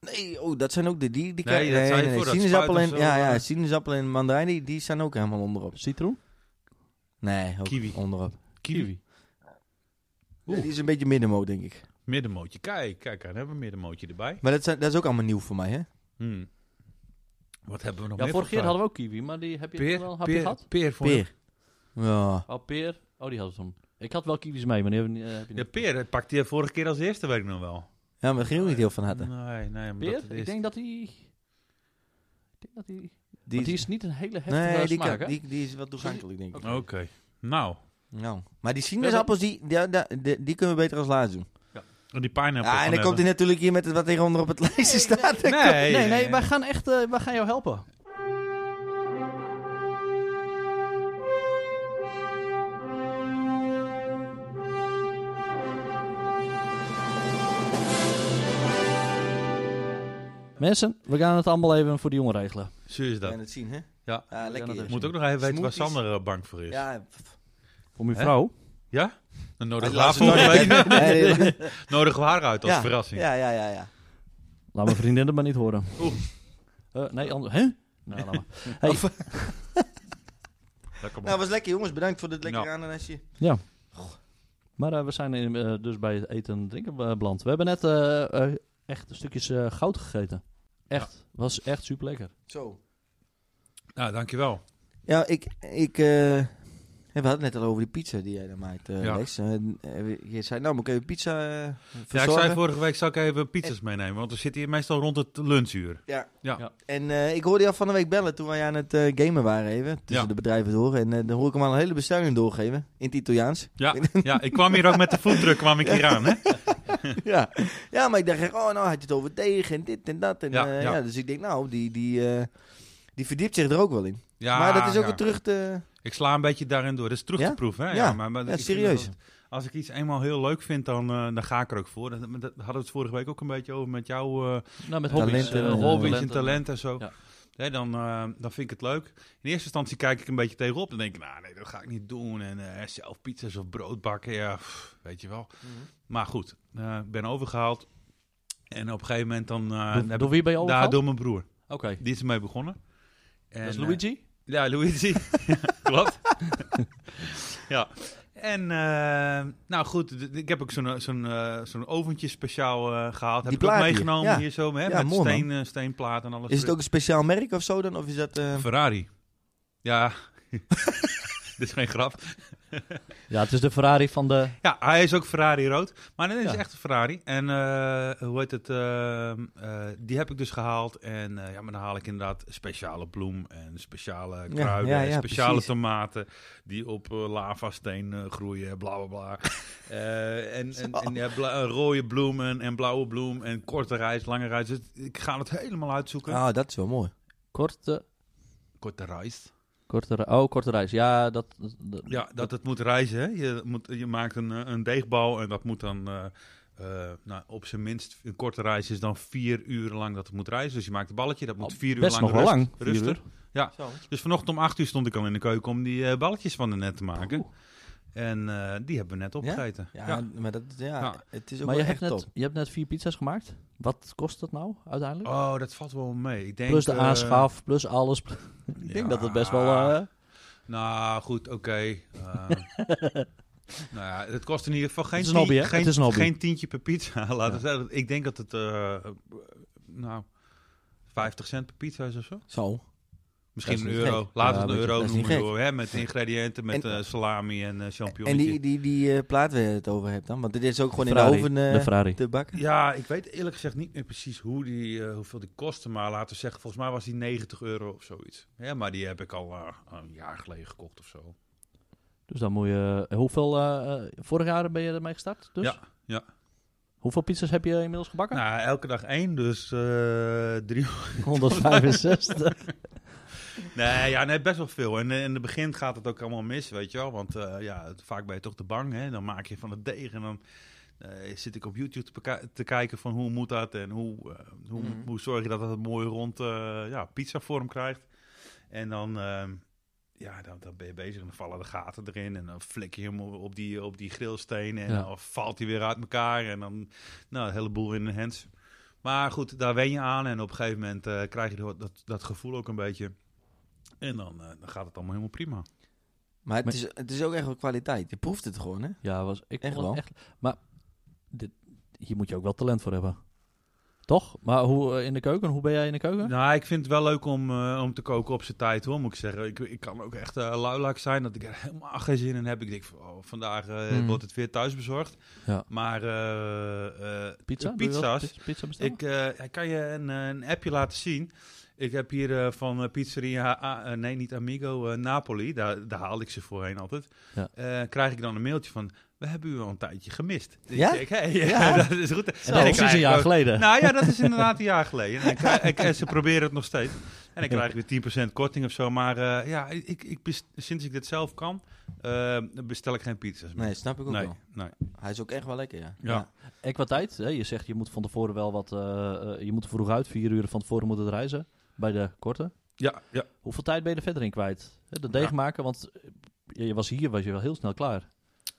C: Nee, oh, dat zijn ook de... Die,
B: Nee,
C: die kan-
B: dat zei je voor, dat
C: Sinaasappel en,
B: spuit of zo,
C: ja, ja,
B: eh.
C: sinaasappel en mandarijn, die, die staan ook helemaal onderop.
A: Citroen?
C: Nee, ook
B: Kiwi.
C: onderop.
B: Kiwi. Oeh.
C: Die is een beetje middenmoot, denk ik.
B: Middenmootje. Kijk, kijk, dan hebben we een middenmootje erbij.
C: Maar dat, zijn, dat is ook allemaal nieuw voor mij, hè?
B: Hmm. Wat hebben we nog
A: Ja,
B: meer
A: vorige keer
B: voor
A: hadden we ook kiwi, maar die heb je
B: fruit?
A: wel
B: peer,
A: heb je
B: peer,
A: gehad?
B: peer, voor
C: Peer. Ja.
A: Oh, peer. Oh, die hadden we toen. Ik had wel kiwis mee, maar die heb, ik niet- eh, heb je
B: Ja,
A: niet.
B: peer eh, pakte je vorige keer als eerste, weet ik nog wel.
C: ja, maar daar ging ook niet heel van harte.
B: Nee, nee. Omdat het
A: Peer?
B: is-
A: Ik denk dat die... Ik denk dat die... want
C: Die
A: die
C: is-
A: is niet een hele heftige
C: Nee, die,
A: smaak,
C: kan,
A: hè?
C: die, die is wat toegankelijk, denk ik.
B: Oké. Nou,
C: Nou, maar die sinaasappels, die, die, die, die- die kunnen we beter als laatste doen.
B: en die pineapple.
C: Ja, en dan komt hij natuurlijk hier met het wat hieronder op het lijstje staat.
B: Nee, nee,
A: Nee, nee,
B: nee.
A: wij gaan echt... eh, wij gaan jou helpen. Mensen, we gaan het allemaal even voor die jongen regelen.
B: Zo is dat.
C: En het zien, hè?
B: Ja.
C: Ja, lekker.
A: dat
B: Ik moet ook nog even weten waar
C: Smoothies.
B: Sander eh, bang voor is. Ja?
C: Ja, pff.
A: Voor mijn
B: Hè?
A: vrouw.
B: Dan nodig we
C: Laat
B: haar
C: ze nog
B: volgende week-
C: Nee, nee,
B: nodigen we haar uit als
C: ja.
B: verrassing.
C: Ja, ja, ja, ja.
A: Laat mijn vriendin het maar niet horen.
B: Oeh.
A: Eh, nee, anders. Hè? Nou, laat maar. Hey.
C: Of-
B: Lekker man.
C: Nou, was lekker, jongens. Bedankt voor dit lekkere
B: Nou.
C: ananasje.
A: Maar eh, we zijn in, eh, dus bij het eten en drinken eh, beland. We hebben net eh, eh, echt stukjes eh, goud gegeten. Echt. Was echt super lekker.
C: Zo.
B: Nou, dankjewel.
C: Ja, ik... ik eh, we hadden het net al over die pizza die jij dan maakt, eh,
B: Ja.
C: Lex. En, eh, je zei, nou, moet ik even pizza eh,
B: Ja, ik zei
C: verzorgen?
B: vorige week, zou ik even pizza's meenemen? Want we zitten hier meestal rond het lunchuur.
C: En eh, ik hoorde jou van de week bellen toen wij aan het eh, gamen waren even. Tussen
B: Ja.
C: de bedrijven door. En eh, dan hoor ik hem al een hele bestelling doorgeven. In het Italiaans.
B: Ja, ja, ik kwam hier ook met de voetdruk kwam ik hier aan, hè?
C: ja. ja, maar ik dacht echt, oh nou had je het over tegen en dit en dat. En,
B: Ja,
C: eh,
B: ja.
C: ja. dus ik denk nou, die, die, eh, die verdiept zich er ook wel in.
B: Ja,
C: maar dat is ook
B: ja.
C: weer terug te...
B: Ik sla een beetje daarin door. Dat is terug
C: Ja?
B: te proeven, hè?
C: Ja.
B: maar, maar
C: Ja,
B: ik vind
C: serieus.
B: dat Als ik iets eenmaal heel leuk vind, dan, eh, dan ga ik er ook voor. Dat, dat hadden we het vorige week ook een beetje over met jou. eh,
A: Nou, met
C: Talenten
A: hobby's.
C: en,
A: eh,
C: eh,
B: hobby's en talent en zo.
A: Ja.
B: Hè, dan, eh, dan vind ik het leuk. In eerste instantie kijk ik een beetje tegenop. Dan denk ik, nou nee, dat ga ik niet doen. En eh, zelf pizza's of brood bakken, ja, pff, weet je wel.
A: Mhm.
B: Maar goed, eh, ik ben overgehaald. En op een gegeven moment dan... eh,
A: Door-
B: dan heb
A: door
B: ik-
A: wie ben je
B: Daar,
A: overgehaald?
B: door mijn broer.
A: Oké.
B: Die is ermee begonnen. En,
A: Dat is
B: eh,
A: Luigi.
B: ja, Luigi. Klopt. ja. En, eh, nou goed, d- ik heb ook zo'n zo'n eh, zo'n oventje speciaal eh, gehaald. Heb
C: Die
B: ik ook
C: plaat hier.
B: meegenomen
C: Ja.
B: hier zo, hè,
C: Ja,
B: met
C: mooi, man.
B: steen, eh, steenplaat en alles.
C: Is het ook een speciaal merk of zo dan? Of is dat... eh,
B: Ferrari. Ja. Dit is geen grap.
A: Ja, het is de Ferrari van de...
B: Ja, hij is ook Ferrari rood. Maar dit is
A: Ja.
B: echt een Ferrari. En eh, hoe heet het? eh, eh, die heb ik dus gehaald. En eh, ja, maar dan haal ik inderdaad speciale bloem en speciale
C: Ja,
B: kruiden.
C: ja,
B: en
C: ja,
B: speciale
C: precies.
B: tomaten die op eh, lavasteen eh, groeien. Bla bla bla. Eh, en en, en ja, bla- eh, rode bloemen en blauwe bloem. En korte reis, lange reis. Dus ik ga het helemaal uitzoeken.
C: Ah, dat is wel mooi.
A: Korte...
B: Korte reis.
A: Korte, re- oh, korte reis. Ja, dat... dat-
B: Ja, dat het moet reizen. Hè? Je, moet, je maakt een, eh, een deegbal en dat moet dan... eh, eh, nou, op zijn minst, een korte reis is dan vier uur lang dat het moet reizen. Dus je maakt een balletje, dat moet
A: Oh,
B: vier uur
A: Best
B: lang
A: nog wel
B: rust-
A: lang. Vier
B: rusten.
A: uur.
C: Zo.
B: Dus vanochtend om acht uur stond ik al in de keuken om die eh, balletjes van de net te maken. En eh, die hebben we net opgegeten.
C: Ja,
B: Ja.
C: maar dat, ja,
B: Ja.
C: het is ook
A: maar je
C: wel
A: hebt,
C: echt
A: net,
C: top.
A: je hebt net vier pizza's gemaakt. Wat kost dat nou uiteindelijk?
B: Oh, dat valt wel mee. Ik denk,
A: plus de
B: eh,
A: aanschaf, plus alles. ik denk dat het best wel...
B: Ja.
A: eh,
B: Nou, goed, oké. eh, nou ja, het kost in ieder geval geen,
A: Het is een hobby, hè?
B: geen,
A: Het is een hobby.
B: geen tientje per pizza. Laten we
A: Ja.
B: zeggen. Ik denk dat het, eh, nou, 50 cent per pizza is of zo.
C: Zo.
B: Misschien
C: Dat
B: een
C: is niet
B: euro.
C: gek.
B: Laten
C: Ja,
B: we het een
C: dat is-
B: euro
C: dat is niet
B: noemen.
C: gek.
B: Door, hè, met de ingrediënten, met
C: En-
B: eh, salami en eh champignons.
C: En die, die, die eh, plaat waar je het over hebt dan? Want dit is ook gewoon
A: Ferrari,
C: in de oven
A: de
C: eh,
A: Ferrari.
C: te bakken.
B: Ja, ik weet eerlijk gezegd niet meer precies hoe die, eh, hoeveel die kostte. Maar laten we zeggen, volgens mij was die 90 euro of zoiets. Ja, maar die heb ik al eh, een jaar geleden gekocht of zo.
A: Dus dan moet je... Hoeveel... eh, eh, vorig jaar ben je ermee gestart, dus?
B: Ja, ja.
A: Hoeveel pizza's heb je inmiddels gebakken?
B: Nou, elke dag één, dus eh drie.
A: 165.
B: Nee, ja, nee, best wel veel. En eh, in het begin gaat het ook allemaal mis, weet je wel. Want eh, ja, het- vaak ben je toch te bang, hè. Dan maak je van het deeg en dan eh, zit ik op YouTube te, beka- te kijken van hoe moet dat en hoe, eh, hoe,
C: Mhm.
B: hoe zorg je dat het een mooi rond eh, ja, pizzavorm krijgt. En dan, eh, ja, dan, dan ben je bezig en dan vallen de gaten erin en dan flik je hem op die, op die grillstenen en
A: Ja.
B: dan valt hij weer uit elkaar en dan nou, een heleboel in de hands. Maar goed, daar wen je aan en op een gegeven moment eh, krijg je dat, dat, dat gevoel ook een beetje. En dan, eh, dan gaat het allemaal helemaal prima.
C: Maar het
A: Maar-
C: is, het is ook echt wel kwaliteit. Je proeft het gewoon, hè?
A: ja, was ik vond
C: Echt
A: het
C: wel.
A: echt. Maar dit, hier moet je ook wel talent voor hebben. Toch? Maar hoe eh, in de keuken? Hoe ben jij in de keuken?
B: Nou, ik vind het wel leuk om, eh, om te koken op zijn tijd, hoor, moet ik zeggen. Ik, ik kan ook echt eh luilak zijn dat ik er helemaal geen zin in heb. Ik denk, van, oh, vandaag eh,
A: Hmm.
B: wordt het weer thuis bezorgd.
A: Ja.
B: Maar eh, eh,
A: Pizza? Doe je wel
B: pizza's,
A: pizza- Pizza bestellen?
B: ik eh, ik kan je een, eh, een appje laten zien. Ik heb hier eh, van eh, pizzeria, A- eh, nee niet Amigo, eh, Napoli, daar, daar haalde ik ze voorheen altijd.
A: Ja.
B: Eh, krijg ik dan een mailtje van, we hebben u al een tijdje gemist. Dus
C: Ja?
B: ik denk, hey, ja,
C: Ja?
B: dat is
A: en
B: goed. ik
A: dat is dus
B: krijg
A: een jaar
B: ook-
A: geleden.
B: nou ja, dat is inderdaad een jaar geleden. En, ik, eh, ik- en ze proberen het nog steeds. En dan krijg ik weer 10% korting of zo. Maar eh, ja, ik, ik best- sinds ik dit zelf kan, eh, bestel ik geen pizza's meer.
C: Nee, snap ik ook
B: nee,
C: wel.
B: nee.
C: Hij is ook echt wel lekker, ja.
B: Ja.
A: Ik wat tijd. Hè? Je zegt je moet van tevoren wel wat. eh, eh, je moet er vroeg uit. Vier uur van tevoren moet het reizen. Bij de korte.
B: Ja, ja.
A: Hoeveel tijd ben je er verder in kwijt? Hè, De deeg
B: Ja.
A: maken, want eh, je was hier, was je wel heel snel klaar.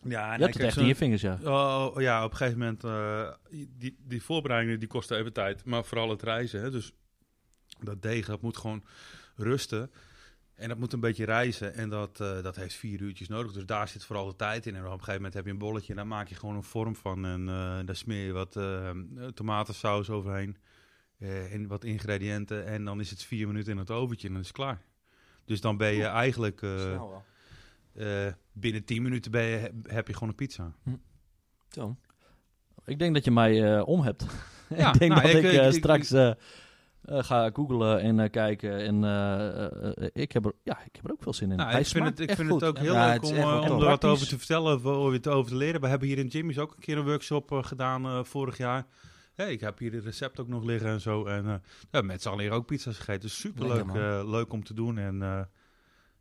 B: ja en
A: je hebt het echt in je vingers, ja.
B: Oh ja, op een gegeven moment, eh, die, die voorbereidingen die kosten even tijd, maar vooral het reizen. Hè? Dus dat deeg, dat moet gewoon rusten en dat moet een beetje reizen en dat, eh, dat heeft vier uurtjes nodig. Dus daar zit vooral de tijd in en op een gegeven moment heb je een bolletje en daar maak je gewoon een vorm van en eh, daar smeer je wat eh, tomatensaus overheen eh, en wat ingrediënten en dan is het vier minuten in het oventje en dan is het klaar. Dus dan ben je eigenlijk eh,
C: Snel wel.
B: eh, binnen 10 minuten ben je, heb je gewoon een pizza.
C: Zo.
A: Ik denk dat je mij eh, om hebt.
B: Ja,
A: ik denk
B: nou,
A: dat
B: ik-
A: ik, eh,
B: ik- ik-
A: straks eh, eh, ga googlen en eh, kijken. En eh, eh, eh, ik, heb er, ja, ik heb er ook veel zin in.
B: Nou,
A: Hij
B: ik vind
A: smaakt
B: het, ik
A: echt
B: vind
A: goed.
B: het ook heel
C: Ja,
B: leuk
C: het is
B: om,
C: echt wel
B: eh, om
C: top.
B: er wat
A: Praktisch.
B: over te vertellen, of over het over te leren. We hebben hier in Jimmy's ook een keer een workshop eh, gedaan eh, vorig jaar. Hey, ik heb hier het recept ook nog liggen en zo. En eh ja, met z'n allen hier ook pizza's gegeten. Dus superleuk
C: Lekker,
B: eh, leuk om te doen. En eh,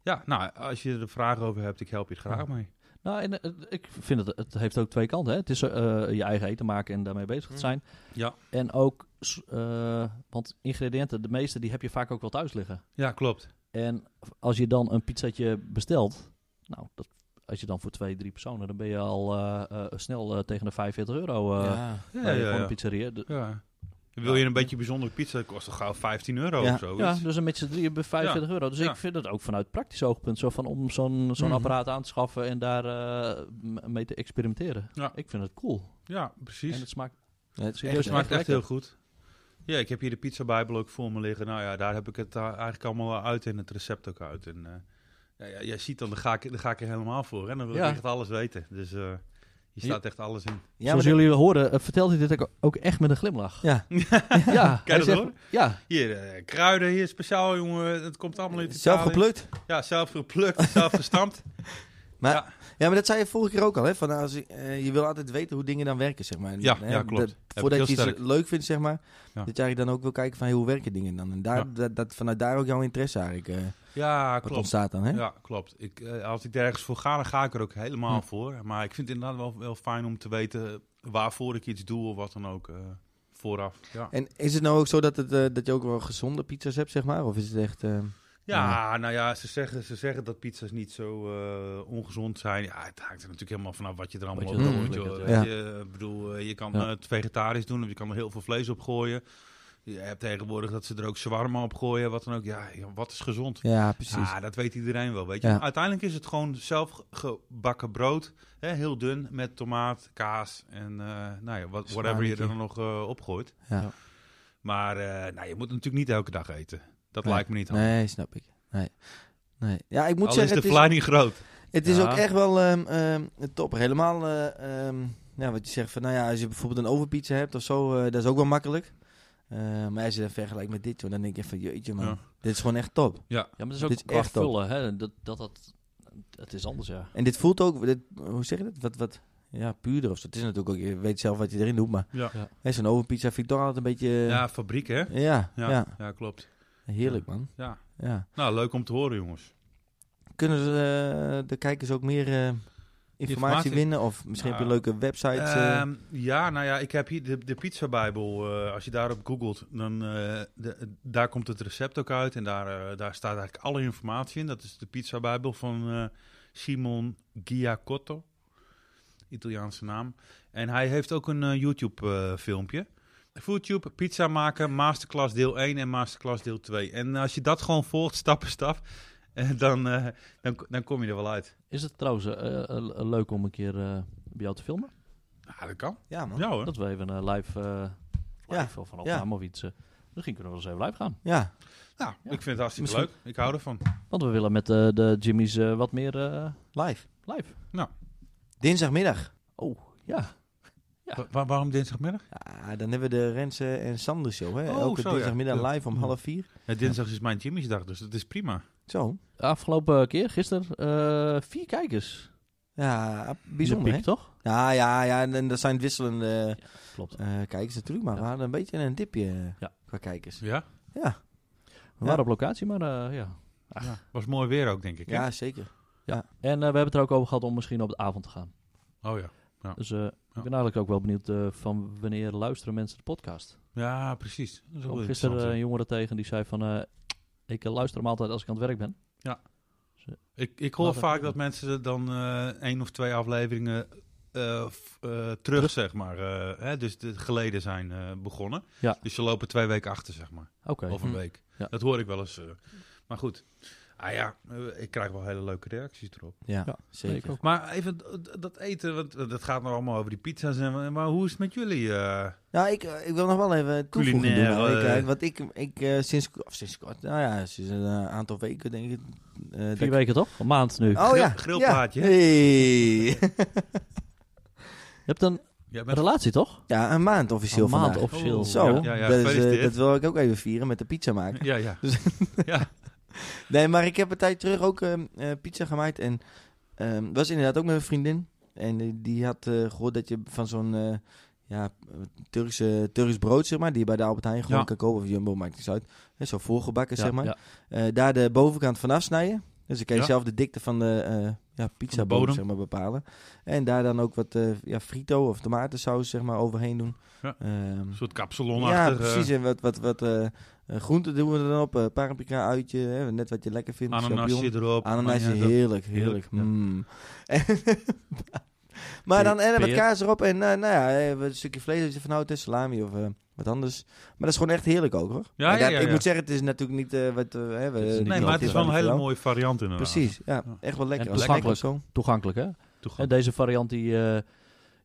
B: ja, nou, als je er vragen over hebt, ik help je er graag mee.
A: Nou, en, eh, ik vind het, het heeft ook twee kanten. Hè? Het is eh, je eigen eten maken en daarmee bezig te
C: Mm.
A: zijn.
B: Ja.
A: En ook, s- eh, want ingrediënten, de meeste, die heb je vaak ook wel thuis liggen.
B: Ja, klopt.
A: En als je dan een pizzatje bestelt, nou, dat, als je dan voor twee, drie personen, dan ben je al eh, eh, snel eh, tegen de 45 euro eh
C: ja.
B: Ja,
A: bij
B: ja,
A: gewoon
B: ja.
A: een pizzeria. De-
B: Ja. Wil je een beetje bijzondere pizza, dat kost toch gauw 15 euro
C: Ja.
B: of zo.
A: ja, dus dan met z'n drieën bij 45 euro. Dus
B: Ja.
A: ik vind het ook vanuit praktisch oogpunt zo van om zo'n zo'n
C: Mhm.
A: apparaat aan te schaffen en daar eh, m- mee te experimenteren.
B: Ja.
A: Ik vind het cool.
B: ja precies.
A: En het smaakt
C: Ja, het is eh,
A: serieus
B: Het smaakt echt
A: lekker.
B: heel goed. Ja, ik heb hier de pizza bijbel ook voor me liggen. Nou ja, daar heb ik het eh, eigenlijk allemaal uit en het recept ook uit. En eh, ja, ja, jij ziet dan, daar ga, ik, daar ga ik er helemaal voor. En dan wil
A: Ja.
B: ik echt alles weten. Dus eh hier staat echt alles in.
C: Ja, maar
A: Zoals
C: dat-
A: jullie horen, eh, vertelt hij dit ook- ook echt met een glimlach.
C: Ja,
A: Ja, hij
B: dat
A: zegt-
B: horen?
A: Ja,
B: Hier, eh, kruiden, hier speciaal, jongen. Het komt allemaal uit
C: zelf
B: Italië.
C: geplukt.
B: Ja, zelf geplukt, zelf gestampt.
C: Ja, maar dat zei je vorige keer ook al, hè? Van als je, eh, je wil altijd weten hoe dingen dan werken, zeg maar. En,
B: Ja,
C: hè,
B: ja, klopt.
C: dat-
B: Heb ik
C: voordat
B: heel
C: je iets
B: sterk.
C: leuk vindt, zeg maar.
B: Ja.
C: Dat je eigenlijk dan ook wil kijken van hey, hoe werken dingen dan. En daar,
B: Ja.
C: dat, dat, vanuit daar ook jouw interesse eigenlijk. eh,
B: Ja,
C: wat
B: klopt.
C: ontstaat dan, hè?
B: Ja, klopt. Ik, eh, als ik ergens voor ga, dan ga ik er ook helemaal
C: Hm.
B: voor. Maar ik vind het inderdaad wel, wel fijn om te weten waarvoor ik iets doe of wat dan ook eh, vooraf. Ja.
C: En is het nou ook zo dat, het, eh, dat je ook wel gezonde pizza's hebt, zeg maar? Of is het echt... eh,
B: Ja, nou ja, ze zeggen, ze zeggen dat pizza's niet zo eh, ongezond zijn. Ja, het haakt er natuurlijk helemaal vanaf wat je er allemaal
A: Wat
B: op
A: je
C: er
B: doet.
A: allemaal
B: joh.
A: lekker
B: Weet
C: doet.
B: je, ik bedoel, eh, je kan
A: Ja.
B: eh, het vegetarisch doen, of je kan er heel veel vlees op gooien. Je hebt tegenwoordig dat ze er ook shawarma op gooien, wat dan ook. Ja, ja, wat is gezond?
C: Ja, precies.
B: Ah, dat weet iedereen wel, weet je.
C: Ja.
B: Uiteindelijk is het gewoon zelf gebakken brood, hè, heel dun, met tomaat, kaas en eh, nou ja, wat, whatever je er dan nog eh opgooit.
C: Ja.
B: Maar eh, nou, je moet het natuurlijk niet elke dag eten. Dat
C: Nee.
B: lijkt me niet handig.
C: Nee, snap ik. Nee. Nee. Ja, ik moet
B: Al is
C: zeggen,
B: de
C: het is-
B: verleiding groot.
C: Het is
A: Ja.
C: ook echt wel ehm ehm, top. Helemaal eh, ehm, ja, wat je zegt van, nou ja, als je bijvoorbeeld een overpizza hebt of zo, eh, dat is ook wel makkelijk. Eh, maar als je dat vergelijkt met dit, joh, dan denk je van, jeetje man,
B: Ja.
C: dit is gewoon echt top.
A: Ja, maar het is ook
C: Dit is
A: qua
C: echt top.
A: vullen, hè. Dat, dat, dat, het is anders, ja.
C: En dit voelt ook, dit, hoe zeg je dat? Wat, wat, ja, puurder of zo. Het is natuurlijk ook, je weet zelf wat je erin doet, maar
B: Ja.
A: Ja.
C: hè, zo'n overpizza vind ik toch altijd een beetje...
B: Ja, fabriek hè?
C: ja,
B: Ja,
C: ja.
B: ja. klopt.
C: heerlijk man.
B: Ja.
C: Ja.
B: Nou, leuk om te horen, jongens.
C: Kunnen ze, eh, de kijkers ook meer eh, informatie,
B: Informatie?
C: winnen? Of misschien heb je
B: Nou,
C: leuke websites? eh?
B: Ehm, ja, nou ja, ik heb hier de, de Pizza Bijbel. eh, als je daarop googelt, dan eh, de- daar komt het recept ook uit. En daar, eh, daar staat eigenlijk alle informatie in. Dat is de Pizza Bijbel van eh, Simon Giacotto. Italiaanse naam. En hij heeft ook een eh, YouTube-filmpje. YouTube, pizza maken, masterclass deel 1 en masterclass deel 2. En als je dat gewoon volgt, stap voor stap, eh, dan, eh, dan, dan kom je er wel uit.
A: Is het trouwens eh, eh, eh, leuk om een keer eh, bij jou te filmen?
B: Ja, Nou, dat kan.
C: ja man.
B: Ja hoor.
A: Dat we even een live, eh
C: Ja.
A: live of een opname of iets... eh, Misschien kunnen we wel eens even live gaan.
C: Ja.
B: Nou, ik vind het hartstikke
C: Misschien-
B: leuk. Ik hou ervan.
A: Want we willen met eh, de Jimmy's eh, wat meer eh,
C: Live.
A: live.
C: Dinsdagmiddag.
A: Oh, ja. Ja.
B: Wa- wa- waarom dinsdagmiddag?
C: Ja, Ah, dan hebben we de Rensen en Sander show. Hè?
B: Oh,
C: Elke
B: zo, ja.
C: dinsdagmiddag
B: Ja.
C: live om half vier.
B: Ja, dinsdag is mijn Jimmy's dag, dus dat is prima.
C: Zo.
A: De afgelopen keer, gisteren, eh, vier kijkers.
C: Ja,
A: In
C: bijzonder
A: de
C: hè?
A: piek, toch?
C: Ja, ja, ja. En, en dat zijn wisselende
A: Klopt.
C: eh, kijkers natuurlijk. Maar
A: Ja.
C: we hadden een beetje een dipje eh,
A: Ja.
C: qua kijkers.
B: Ja?
C: Ja.
A: We waren op locatie, maar eh, ja.
B: Was mooi weer ook, denk ik. hè?
C: Ja, zeker.
A: En eh, we hebben het er ook over gehad om misschien op de avond te gaan.
B: Oh ja.
A: Dus eh, ik ben eigenlijk ook wel benieuwd eh, van wanneer luisteren mensen de podcast.
B: Ja, precies. Dat is
A: Ik
B: ook wel
A: kwam gisteren eh,
B: interessant,
A: een
B: hè.
A: jongere tegen die zei van... eh, ik eh, luister hem altijd als ik aan het werk ben.
B: ik, ik hoor
A: Laten we-
B: vaak dat mensen er dan eh, één of twee afleveringen eh, f- eh, terug, zeg maar. eh, hè, dus de geleden zijn eh, begonnen.
A: Ja.
B: Dus ze lopen twee weken achter, zeg maar.
A: Oké.
B: Of een
C: Hm.
B: week.
A: Ja.
B: Dat hoor ik wel eens. eh. Maar goed. Ah ja, eh, ik krijg wel hele leuke reacties erop.
C: Ja,
A: Ja,
C: zeker.
A: ik ook.
B: Maar even d- dat eten, want eh, dat gaat nou allemaal over die pizza's. En, maar hoe is het met jullie? eh?
C: Nou, ik, eh, ik wil nog wel even toevoeging
B: Culinair,
C: doen. Nou, ik,
B: eh.
C: eh, want ik, ik eh, sinds, of sinds kort, nou ja, sinds een eh, aantal weken denk ik. eh, dat
A: Vier
C: ik-
A: weken toch? Een maand nu.
C: Oh ja.
B: Grill- grillplaatje.
C: Ja. Hey.
A: Je hebt een
B: Jij bent-
A: relatie toch?
C: ja, een maand officieel
A: een maand
C: vandaag.
A: officieel.
B: Oh,
C: Zo,
B: Ja, ja, ja,
C: dat, is, eh,
B: gefeliciteerd.
C: dat wil ik ook even vieren met de pizza maken.
B: ja, ja. ja.
C: Nee, maar ik heb een tijd terug ook ehm, eh, pizza gemaakt. En ehm, was inderdaad ook met een vriendin. En eh, die had eh, gehoord dat je van zo'n eh, ja, eh, Turkse, Turks brood, zeg maar, die je bij de Albert Heijn gewoon
B: Ja.
C: kan kopen. Of Jumbo, maakt niks uit. Hè, Zo voorgebakken,
A: Ja,
C: zeg maar.
A: ja.
C: Eh, daar de bovenkant van afsnijden. Dus dan kan je
B: Ja.
C: zelf de dikte van de eh ja, pizza
B: bodem.
C: zeg maar, bepalen. En daar dan ook wat eh, ja, frito of tomatensaus zeg maar, overheen doen.
B: Ja.
C: Ehm,
B: Een soort eh,
C: ja,
B: kapsalonachtig.
C: precies. En wat, wat, wat eh, eh, groenten doen we er dan op. eh paprika, uitje, hè, net wat je lekker vindt. champignon.
B: ananasje erop.
C: Ananasje,
B: Maar ja, dat-
C: heerlijk,
B: heerlijk,
C: heerlijk.
B: ja.
C: mm. maar dan en wat
A: Peer.
C: kaas erop en eh, nou ja, eh, een stukje vlees als je van houdt, eh, salami of eh, wat anders. Maar dat is gewoon echt heerlijk ook hoor.
B: Ja, ja,
C: En dat-
B: ja,
C: Ik
B: ja.
C: moet zeggen, het is natuurlijk niet eh, wat eh, we hebben.
A: Het is niet
B: Nee, maar het is wel een hele mooie variant inderdaad.
C: Precies, ja,
B: Ja.
C: echt wel lekker.
A: En
C: Als snack of
A: toegankelijk.
C: zo.
A: Toegankelijk hè? En
B: Toegang-
A: deze variant die... eh,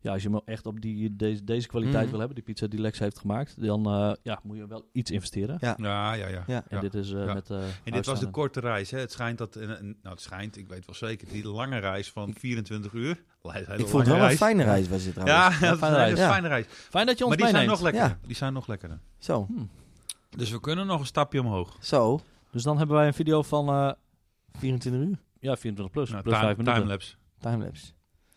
A: ja, als je hem echt op die, deze, deze kwaliteit
C: Mhm.
A: wil hebben, die pizza die Lex heeft gemaakt, dan eh, ja, moet je wel iets investeren.
B: Ja, ja, ja.
C: Ja.
A: En dit is eh,
B: ja.
A: met... eh,
B: En dit was de
A: uitstaande.
B: korte reis. Hè. Het schijnt dat, en, en- nou het schijnt, ik weet wel zeker, die lange reis van 24 uur. Hele
C: Ik vond het
B: lange
C: wel een
B: reis.
C: fijne reis was dit
B: Ja, dat
C: trouwens.
B: is een
A: fijne
B: hele
A: reis.
B: fijne reis.
A: Fijn dat je ons
B: Maar die zijn
A: meeneemt.
B: nog lekkerder. Die zijn nog lekkerder.
C: Zo,
B: Dus we kunnen nog een stapje omhoog.
C: zo,
A: Dus dan hebben wij een video van eh,
C: 24 uur,
A: ja, 24 plus,
B: Nou,
A: Dus plus
B: time-
A: 5 minuten.
B: timelapse.
C: timelapse.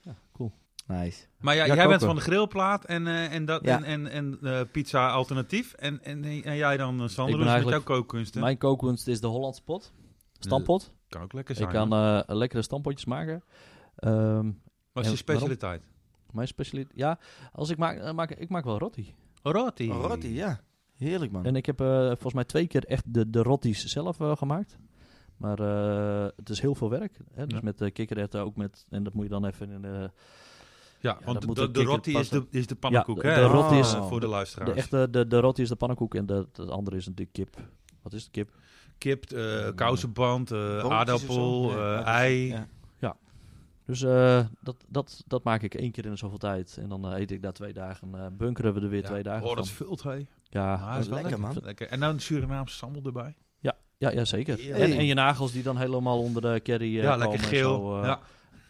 A: Ja, cool.
C: Nice.
B: Maar ja,
C: Ja,
B: jij
C: koken.
B: bent van de grillplaat en, eh, en, dat,
C: Ja.
B: en, en, en eh, pizza alternatief. En, en, en jij dan, eh, Sander,
A: Ik ben
B: hoe is het met jouw
A: eigenlijk-
B: kookkunsten?
A: Mijn kookkunst is de Hollandse pot. Stampot.
B: Kan ook lekker
A: Ik
B: zijn.
A: kan eh, lekkere stampotjes maken. Ehm,
B: Wat is je
A: en waarom?
B: specialiteit?
A: mijn specialiteit... Ja, als ik, maak, eh, maak, ik maak wel rotti.
B: Roti.
C: Rotti, ja. Heerlijk man.
A: En ik heb eh, volgens mij twee keer echt de, de rotties zelf eh, gemaakt. Maar eh, het is heel veel werk. Hè? Dus
B: Ja.
A: met de kikkererwten ook met... En dat moet je dan even in de...
B: Ja,
A: Ja, dat
B: want
A: moet
B: de,
A: een
B: de
A: kikker
B: rotti is de,
A: passen.
B: is de pannenkoek,
A: Ja,
B: hè? Oh.
A: de- de
C: rotti is-
B: voor de
A: De,
B: luisteraars.
A: echte, de, de roti is de pannenkoek en de, het andere is een dik kip. Wat is de kip?
B: Kip,
A: Mm.
B: eh kousenband, eh, aardappel, eh, ei.
C: Ja.
A: Dus eh, dat, dat, dat maak ik één keer in de zoveel tijd. En dan eh, eet ik daar twee dagen. eh, bunkeren we er weer
B: Ja.
A: twee dagen
B: Oh,
A: van.
B: dat vult, hé.
A: Ja,
B: Ah, dat is wel
C: lekker, man.
B: Lekker. En nou een Surinaamse sambal erbij.
A: ja, ja, zeker.
B: Heerlijk.
A: En, en je nagels die dan helemaal onder de curry eh,
B: ja,
A: komen.
B: lekker
A: en
B: geel.
A: zo, eh.
B: ja.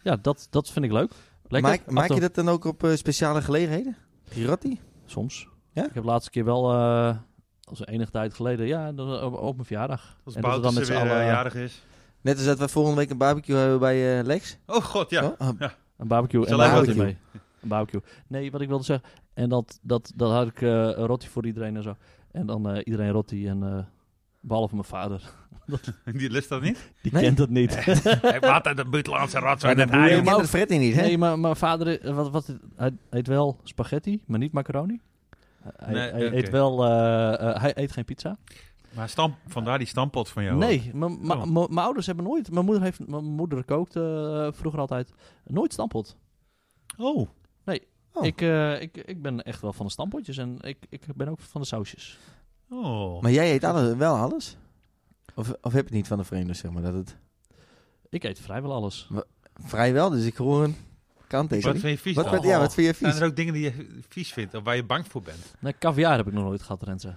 A: Ja, dat, dat vind ik leuk. Lekker.
C: Maak, maak
A: Achter-
C: je dat dan ook op eh, speciale gelegenheden? Pirotti?
A: Soms.
C: Ja?
A: Ik heb de laatste keer wel, eh als een enige tijd geleden, ja, dan eh, op, op mijn verjaardag.
B: Als
A: En dat we
B: Bouters
A: dan
B: er
A: met
B: weer
A: z'n allen-
B: eh, jarig is.
C: Net als dat we volgende week een barbecue hebben bij eh, Lex.
B: Oh god, ja.
C: Oh, ah,
A: Een barbecue en
B: Zal even
A: een
C: wat
A: rotti
C: doen.
A: mee. Een barbecue. Nee, wat ik wilde zeggen. En dat, dat, dat had ik eh een rotti voor iedereen en zo. En dan eh, iedereen rotti en eh, behalve mijn vader.
B: Die lust dat niet.
A: Die
C: Nee.
A: kent dat niet.
B: Hij maakt uit de buitenlandse rat zo
C: maar
B: net
C: dat boeien
B: hij.
A: maar
C: kent
A: ook-
C: het Freddy niet, hè?
A: nee, maar mijn vader, eh, wat, wat, hij eet wel spaghetti, maar niet macaroni. Hij,
B: Nee,
A: hij
B: oké.
A: eet wel, eh, eh, hij eet geen pizza.
B: Maar stamp, vandaar die stamppot van jou.
A: Nee, mijn ma-
B: Oh.
A: ma- mijn ouders hebben nooit. Mijn moeder, heeft, mijn moeder kookt eh, vroeger altijd. Nooit stampot.
B: Oh,
C: Oh.
A: Ik, eh, ik, ik ben echt wel van de stampotjes en ik, ik ben ook van de sausjes.
B: oh.
C: Maar jij eet alles, wel alles? Of, of heb je het niet van de vreemde, zeg maar? Dat het
A: Ik eet vrijwel alles.
C: vrijwel, dus ik hoor een
B: wat
C: kanttekening.
B: vind je vies Oh.
C: Wat,
B: dan?
C: wat- ja, wat vind je
B: Zijn
C: vies?
B: er ook dingen die je vies vindt of waar je bang voor bent?
A: Nee, caviar heb ik nog nooit gehad, Renze.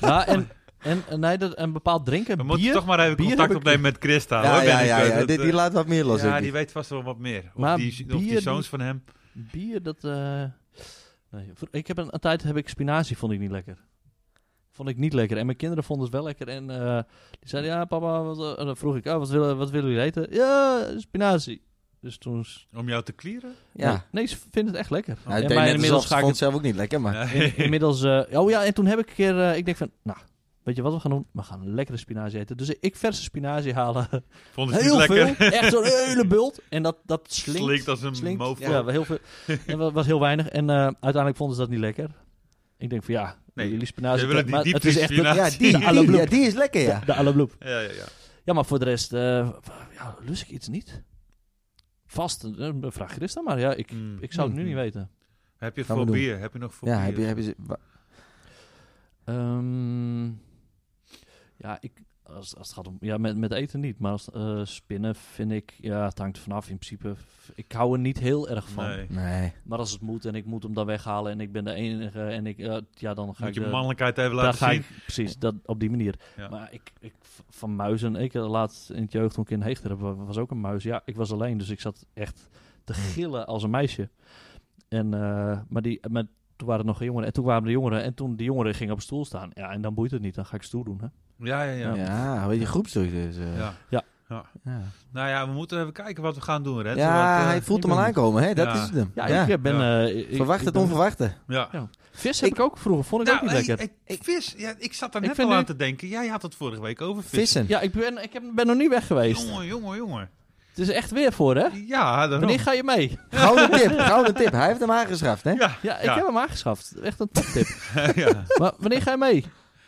A: nou, en, en nee, dat, een bepaald drinken,
B: We
A: bier...
B: moeten toch maar even
A: bier
B: contact
A: heb ik-
B: opnemen met Christa.
C: Ja,
B: hoor,
C: ja,
B: Benny.
C: ja, ja.
B: Dat,
C: Dit, die
B: eh,
C: laat wat meer los.
B: ja,
C: denk
B: die
C: ik.
B: weet vast wel wat meer. Of,
A: Maar
B: die, of die
A: bier-
B: zoons van hem.
A: Bier, dat... eh, nee, voor- ik heb een, een tijd heb ik spinazie, vond ik niet lekker. Vond ik niet lekker. En mijn kinderen vonden het wel lekker. En eh, die zeiden, ja papa, wat, eh, en dan vroeg ik, oh, wat, willen, wat willen jullie eten? Ja, spinazie. Dus toen... s-
B: Om jou te clearen?
C: Ja.
A: Nee, nee, ze vinden het echt lekker.
C: Nou, ik
A: En
C: deed
A: maar
C: net alsof
A: inmiddels
C: ze
A: ga ik
C: vond
A: het-
C: zelf ook niet lekker, maar...
B: Nee.
A: In- inmiddels, eh, oh ja, en toen heb ik een keer, eh, ik denk van, nou, weet je wat we gaan doen? We gaan lekkere spinazie eten. Dus ik verse spinazie halen.
B: Vond het
A: Heel
B: niet
A: veel,
B: lekker.
A: echt zo'n hele bult. En dat, dat slinkt.
B: Slinkt als een
A: slinkt.
B: mofo.
A: Ja, wel heel veel. En dat was heel weinig. En eh, uiteindelijk vonden ze dat niet lekker. Ik denk van, ja,
B: Nee,
A: jullie
B: ze
A: spinazie.
B: willen die
A: maar het
B: diepvries
A: is echt de,
B: spinazie.
C: Ja, die,
A: Ja,
C: die,
A: bloem.
C: ja, die is lekker, ja.
A: de à la bloep.
B: Ja, ja, ja.
A: Ja, maar voor de rest, eh, ja, lust ik iets niet? Vast, eh, vraag Chris dan maar. Ja, ik,
B: Mm.
A: ik zou het nu
C: Mm.
A: niet weten.
B: Heb je
C: Gaan
B: voor
C: we doen.
B: bier? Heb je nog voor
C: Ja,
B: bier?
C: heb je, heb je, wa-
A: Ehm, ja, ik, als, als het gaat om... Ja, met, met eten niet. Maar als, eh, spinnen vind ik... Ja, het hangt er vanaf. In principe, f- ik hou er niet heel erg van.
B: Nee.
C: nee.
A: Maar als het moet en ik moet hem dan weghalen en ik ben de enige en ik... eh, ja, dan ga
B: Moet je
A: ik... de-
B: mannelijkheid even
A: daar
B: laten
A: ga
B: zien.
A: ik, precies, dat, op die manier.
B: Ja.
A: Maar ik, ik, v- van muizen... Ik had laatst in het jeugd, toen ik in Heegter heb, was ook een muis. Ja, ik was alleen, dus ik zat echt te
B: Hmm.
A: gillen als een meisje. En, eh, maar die, maar toen waren er nog jongeren en toen kwamen de jongeren. En toen die jongeren gingen op stoel staan. Ja, en dan boeit het niet. Dan ga ik stoer doen, hè.
B: Ja, ja, ja.
C: Ja,
B: ja.
C: weet je, groepsdruk dus. eh, ja. Ja.
B: Nou ja, we moeten even kijken wat we gaan doen, hè? eh,
C: hij voelt hem al aankomen, hè? Dat
B: Ja.
C: is het hem.
A: Ja,
C: Ja.
A: ik eh, ben...
B: Ja.
A: eh, ik-
C: Verwacht
A: ik
C: het
A: ben-
C: onverwachte.
B: Ja.
A: Vis heb ik,
C: Ik-
A: ook vroegen, vond ik
B: Nou,
A: ook niet
B: hey,
A: lekker.
B: hey, vis, ja, ik zat daar
A: Ik
B: net
A: vind
B: al aan
A: nu-
B: te denken. Jij had het vorige week over vis.
C: Vissen.
A: Ja, ik ben, ik heb- ben nog niet weg geweest.
B: Jongen, jongen, jongen.
A: Het is echt weer voor, hè?
B: Ja, daarom.
A: Wanneer ga je mee?
C: Gouden tip, gouden tip. Hij heeft hem aangeschaft, hè?
B: Ja,
A: Ja, ik
B: Ja.
A: heb hem aangeschaft. Echt een toptip.
B: ja.
A: maar wanneer ga je mee?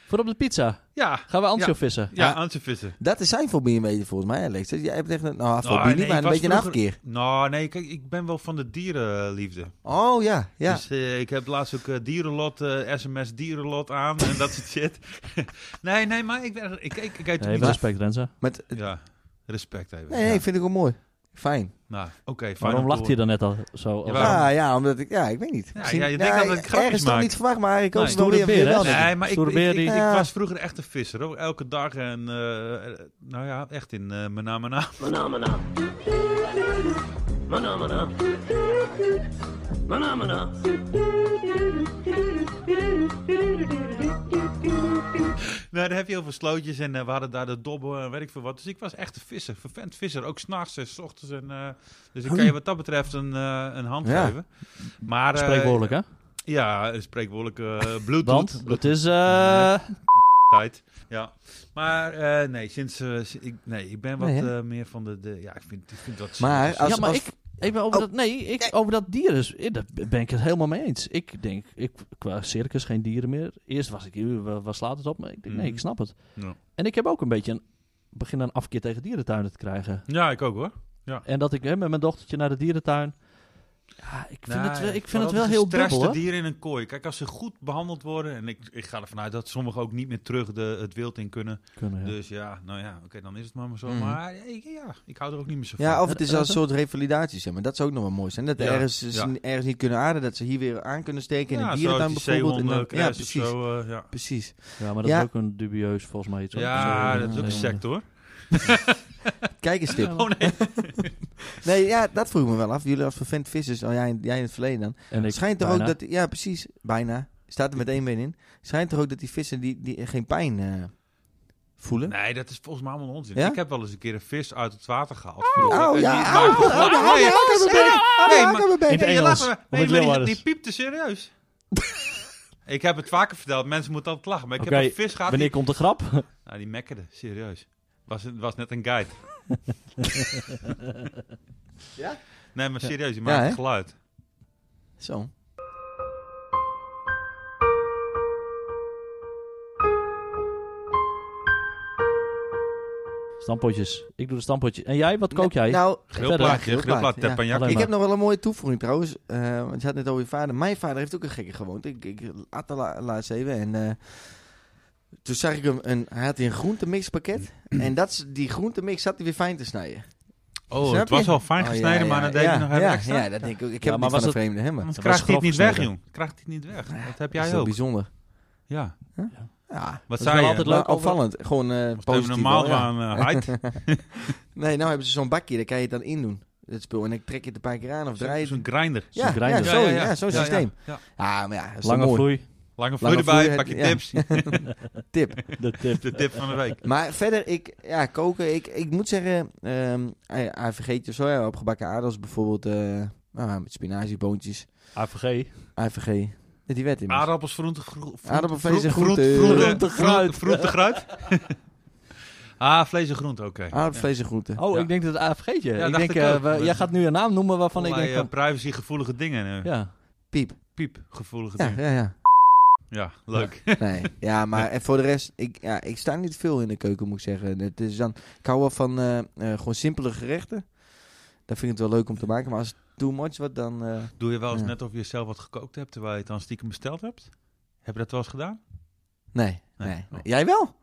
A: Voor op de pizza.
B: Ja,
A: Gaan we ancho vissen?
B: ja,
C: Ja.
B: aan te vissen.
C: Dat is zijn fobie een beetje volgens mij, Alex. Jij hebt echt een... Nou, fobie
B: Oh,
C: niet,
B: nee,
C: maar
B: ik
C: een
B: was
C: beetje een
B: vroeger-
C: afkeer.
B: Nou, nee, kijk, ik ben wel van de dierenliefde.
C: Oh, ja, ja.
B: Dus eh, ik heb laatst ook eh, dierenlot, eh, sms dierenlot aan en dat soort shit. nee, nee, maar ik, ben- ik, ik, ik eet
A: Nee,
B: niet-
A: met respect, Renze.
C: Met,
B: Ja, respect even.
C: nee, nee, vind ik wel mooi. Fijn. Ah,
B: Nou, oké, fijn
A: Waarom
B: om
A: lacht
B: te
A: je dan net al zo?
B: Ja,
A: als-
B: waarom?
C: Ja, ja, omdat ik... Ja, ik weet niet.
B: Ja,
C: Misschien-
B: ja, je denkt dat ik grapjes
C: Ergens toch
B: maak.
C: niet verwacht, maar ik hoop
B: Nee.
C: het wel weer,
A: Stoere beer,
C: weer
A: hè?
C: wel.
A: Nee.
B: Nee, maar ik,
A: Stoere
B: ik,
A: beer
B: ik-
A: die-
B: ik
C: Ja.
B: was vroeger echt een visser. Hoor. Elke dag en, eh, eh, nou ja, echt in eh mijn naam en naam.
E: Manamana. Manamana. Manamana.
B: Nou, daar heb je heel veel slootjes en eh, we hadden daar de dobben en weet ik veel wat. Dus ik was echt een visser, vervent visser. Ook s'nachts en 's ochtends. En, eh, dus ik kan je wat dat betreft een, eh, een hand
C: Ja.
B: geven. Maar, eh,
A: Spreekwoordelijk, hè?
B: Ja, een spreekwoordelijke eh, Bluetooth.
A: Want het is... eh,
B: tijd. Ja. Maar eh, nee, sinds, eh, si- ik, nee, ik ben wat
C: Nee, hè?
B: eh, meer van de, de... Ja, ik vind, ik vind dat...
C: Maar als,
A: Ja, maar
C: als,
A: ik- Ik ben over
C: Oh.
A: dat, nee, ik, over dat dier is, eh, daar ben ik het helemaal mee eens. Ik denk, ik, qua circus geen dieren meer. Eerst was ik, eh, wa- waar slaat het op? Maar ik denk, nee,
B: Mhm.
A: ik snap het.
B: Ja.
A: En ik heb ook een beetje een, begin een afkeer tegen dierentuinen te krijgen.
B: Ja, ik ook hoor.
A: En dat ik hè, met mijn dochtertje naar de dierentuin... Ja, ik vind het wel, ik vind het
B: Vooral
A: wel
B: de
A: heel
B: gestreste
A: dubbel, hoor.
B: dieren in een kooi. Kijk, als ze goed behandeld worden... en ik, ik ga ervan uit dat sommigen ook niet meer terug de, het wild in kunnen.
A: Kunnen, ja.
B: Dus ja, nou ja, oké, dan is het maar, maar zo.
C: Mhm.
B: Maar ja, ik- ja, ik hou er ook niet meer zo van.
C: Ja, of het is
A: Eh,
C: als een
A: eh,
C: soort revalidatie, zeg maar. Dat zou ook nog wel mooi zijn. Dat
B: Ja,
C: ergens, ze
B: ja.
C: ergens niet kunnen aarden, dat ze hier weer aan kunnen steken in
B: ja,
C: een
B: zoals
C: dierentuin
B: die
C: bijvoorbeeld. en dan-
B: zeehonden,
C: ja,
B: kruis of
C: precies.
B: zo, eh, ja.
C: Precies.
A: Ja, maar dat
C: Ja.
A: is ook een dubieus volgens mij iets. hoor.
B: Ja,
A: Zo,
B: dat is ook
A: eh,
B: een sect hoor.
C: Kijk eens, tip.
B: Oh nee.
C: Nee, ja, dat vroeg ik me wel af. Jullie als vervent vissers, al jij, jij in het verleden dan.
A: En ik,
C: Het schijnt toch
A: bijna.
C: ook dat... Ja, precies. Bijna. Staat er met één been in. Schijnt toch ook dat die vissen die, die geen pijn eh, voelen?
B: Nee, dat is volgens mij allemaal onzin.
C: Ja?
B: Ik heb wel eens een keer een vis uit het water gehaald.
C: Au,
B: Eh,
C: ja, Oh,
B: niet-
C: au,
B: maar-
C: au, au,
B: Nee,
C: au,
B: nee,
C: au, au,
B: nee,
C: au, au,
B: nee,
C: Ah,
B: maar-
C: daar ben
A: In
C: ik.
A: het
B: Nee, je laat
A: Engels.
B: me-
A: Of in het
B: nee, maar die,
A: Leeuwarden.
B: die piepte serieus. ik heb het vaker verteld. Mensen moeten altijd lachen. Maar ik
A: Oké,
B: heb een vis gehad.
A: Wanneer komt de grap?
B: Die, nou, die mekkerde. Serieus. Was, het was net een guide.
C: Ja?
B: Nee, maar serieus. Je
C: Ja,
B: maakt
C: hè?
B: het geluid.
C: Zo.
A: Stampotjes. Ik doe de stampotjes. En jij, wat kook jij?
C: Nou,
A: Verder.
B: Grillplaatje. Grillplaat.
C: Grillplaat, ja.
B: teppanyaki.
A: Alleen
C: ik
A: maar.
C: heb nog wel een mooie toevoeging trouwens. Eh, want je had net over je vader. Mijn vader heeft ook een gekke gewoonte. Ik, ik at de la- laatst even en... eh, toen zag ik hem, een, hij had hier een groentemixpakket.
A: Mm.
C: en dat, is- die groentemix zat hij weer fijn te snijden.
B: Oh,
C: Snap
B: het was
C: je?
B: al fijn
C: Oh,
B: gesneden,
C: ja, ja,
B: maar dan deed
C: ja,
B: je nog even
C: ja,
B: extra.
C: Ja, dat denk ik ook. Ik heb
A: Ja, maar
C: het niet van
A: was
C: een vreemde, hè, maar.
B: Anders
A: Dat
B: krijgt
A: was
B: hij het niet weg,
A: grofgesneden.
B: joh. Krijgt hij het niet weg. Dat heb
C: Dat is
B: jij
C: wel
B: ook.
C: bijzonder.
B: Ja.
A: Ja.
C: Ja,
B: Wat
A: is
B: zei
A: wel
B: je?
A: altijd
C: maar
A: leuk over-
C: opvallend. Gewoon eh
B: Of
C: positief.
B: hebben we normaal
C: wel, ja.
B: aan eh, height?
C: Nee, nou hebben ze zo'n bakje, daar kan je het dan in doen. Dat spul. En dan trek je het een paar keer aan of draai je
B: Zo'n
C: het.
B: zo'n grinder.
A: zo'n
C: Ja, ja,
A: grinder.
C: zo, ja, zo'n
B: Ja, ja.
C: systeem.
B: Ja.
C: Ja, maar ja, dat is toch
A: Lange
C: mooi.
A: vloei.
B: Lange
C: Lange
B: vloei erbij,
C: vloei,
B: pak je
C: ja.
B: tips.
C: tip.
A: De tip.
B: De tip van de week.
C: Maar verder, ik, ja, koken, ik, ik moet zeggen, ehm hij, hij vergeet je zo, ja, opgebakken aardappels bijvoorbeeld, eh nou, met spinazieboontjes,
A: AVG.
C: hij vergeet. Die werd in.
B: Aardappels, groente, groente,
C: Aardappel, vlees en groente.
A: Groente,
B: groente,
A: fruit.
B: groente, fruit. Ah, vlees en groente, oké.
C: Aardappels, vlees en groenten.
A: Oh,
B: Ja.
A: ik denk dat het AVG je.
B: Ja,
A: ik
B: dacht
A: denk,
B: ik
A: eh,
B: ook.
A: we- jij gaat nu een naam noemen waarvan ik denk...
B: Allerlei, eh,
A: van-
B: privacygevoelige dingen. eh,
A: ja.
C: Piep.
B: Piepgevoelige
C: Ja,
B: dingen.
C: ja, ja.
B: Ja, leuk.
C: Nee, ja, maar en voor de rest, ik, ja, ik sta niet veel in de keuken, moet ik zeggen. Het is dan, ik hou wel van eh, eh, gewoon simpele gerechten. Daar vind ik het wel leuk om te maken, maar als het too much wordt, dan... eh,
B: Doe je wel eens
C: Ja.
B: net of je zelf wat gekookt hebt, terwijl je het dan stiekem besteld hebt? Heb je dat wel eens gedaan?
C: nee, nee,
B: Nee.
C: nee. Jij wel?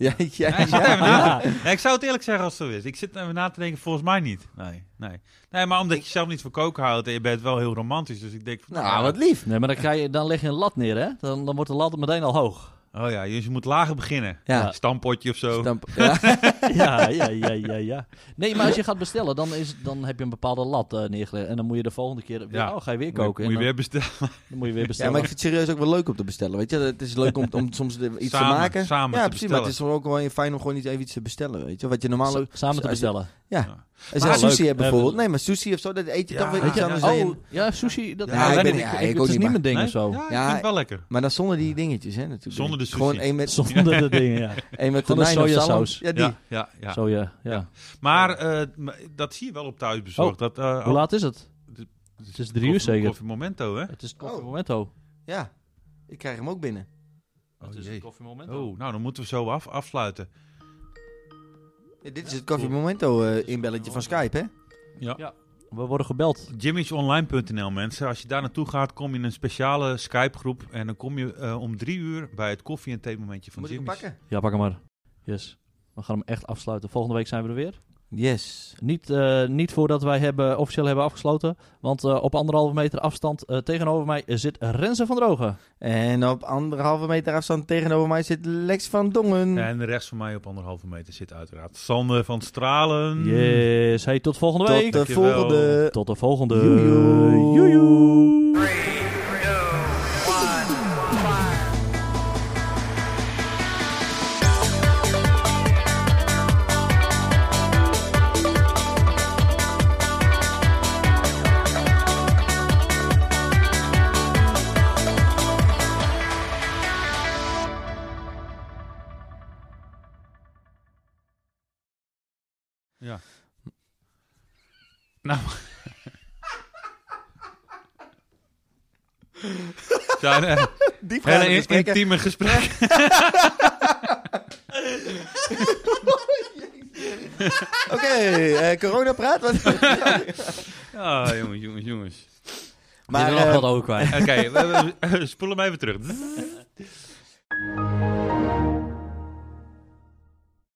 C: Ja, ja,
B: Nee, ik, zit
C: ja.
B: even na
A: Ja.
B: te- Nee, ik zou het eerlijk zeggen als het zo is. Ik zit even na te denken, volgens mij niet. Nee, nee. nee maar omdat je zelf niet van koken houdt en je bent wel heel romantisch. Dus ik denk van,
C: Nou, wat lief.
A: Nee, maar dan, krijg je, dan leg je een lat neer, hè? Dan, dan wordt de lat meteen al hoog.
B: Oh ja, dus je moet lager beginnen.
C: Ja.
B: Stampotje of zo.
C: Stamp- ja.
A: ja, ja, ja, ja, ja. Nee, maar als je gaat bestellen, dan, is, dan heb je een bepaalde lat eh, neergelegd. En dan moet je de volgende keer... weer-
B: Ja.
A: Oh, ga je weer
B: Moet je-
A: koken.
B: Moet je
A: en dan,
B: weer bestellen.
A: dan moet je weer
C: Ja,
A: bestellen.
C: maar ik vind het serieus ook wel leuk om te bestellen. Weet je, het is leuk om, om soms de- iets
B: Samen-
C: te maken.
B: samen
C: ja,
B: te
C: precies. Maar het is wel ook wel heel fijn om gewoon iets, even iets te bestellen. Weet je, wat je normaal ook.
A: Sa- Samen te
C: als je-
A: bestellen.
C: Als
A: Maar
C: je sushi
A: leuk.
C: hebt bijvoorbeeld.
A: Eh,
C: Nee, maar sushi of zo, dat eet je
B: Ja,
C: toch weer
B: weet
C: iets
B: je,
C: anders.
B: oh.
C: dan je-
A: ja, sushi. Dat,
C: Ja,
A: ik
B: ik
A: weet
B: ben-
A: niet,
C: ja,
A: ik-
C: ik
A: het
C: ook
A: is
C: niet,
A: niet mijn ding
B: Nee?
A: of zo.
B: Ja, ik
C: Ja, eh,
B: vind het wel lekker.
C: Maar dan zonder die dingetjes, hè? Natuurlijk.
B: Zonder de sushi.
C: Gewoon één met,
A: Zonder de dingen, ja.
C: één met
A: Gewoon een
C: tonijn of zalm.
A: sojasaus.
C: Ja, die.
B: Ja, ja, ja.
A: Zo, ja. ja.
B: Maar eh, m- dat zie je wel op thuisbezorgd.
A: Oh,
B: Dat, eh,
A: Hoe laat is het?
B: het
A: is drie uur
B: koffie-
A: zeker?
B: Koffiemomento, hè?
A: Het is het
C: Oh.
A: koffiemomento.
C: Ja. Ik krijg hem ook binnen.
A: Het is
B: jee.
A: het koffiemomento.
B: Oh, nou dan moeten we zo af, afsluiten.
C: Ja, dit is het Coffee Momento eh, inbelletje van Skype, hè?
A: We worden gebeld.
B: Jimmysonline.nl mensen. Als je daar naartoe gaat, kom je in een speciale Skype groep. En dan kom je eh, om drie uur bij het koffie- en theemomentje van
C: Moet ik hem
B: Jimmy's.
C: pakken?
A: Ja, pak hem maar. Yes. We gaan hem echt afsluiten. Volgende week zijn we er weer.
C: Yes.
A: Niet, eh, niet voordat wij hebben, officieel hebben afgesloten. Want eh, op anderhalve meter afstand eh, tegenover mij zit Renze van Drogen.
C: En op anderhalve meter afstand tegenover mij zit Lex van Dongen.
B: En rechts van mij op anderhalve meter zit uiteraard Sander van Stralen.
A: Yes. Hey, tot volgende
C: Tot
A: week.
C: de
B: Dankjewel.
C: volgende.
A: Tot de volgende.
C: Joejoe.
A: Joejoe.
B: Nou. Ja. Zijn eh,
C: Diep
B: hele in- intieme gesprekken.
C: Oké, eh, corona praat. Wat?
B: Ja, Ah, jongens, jongens, jongens.
A: Maar
C: eh,
A: had ook kwijt.
B: Oké, we- we- we spoelen hem even terug.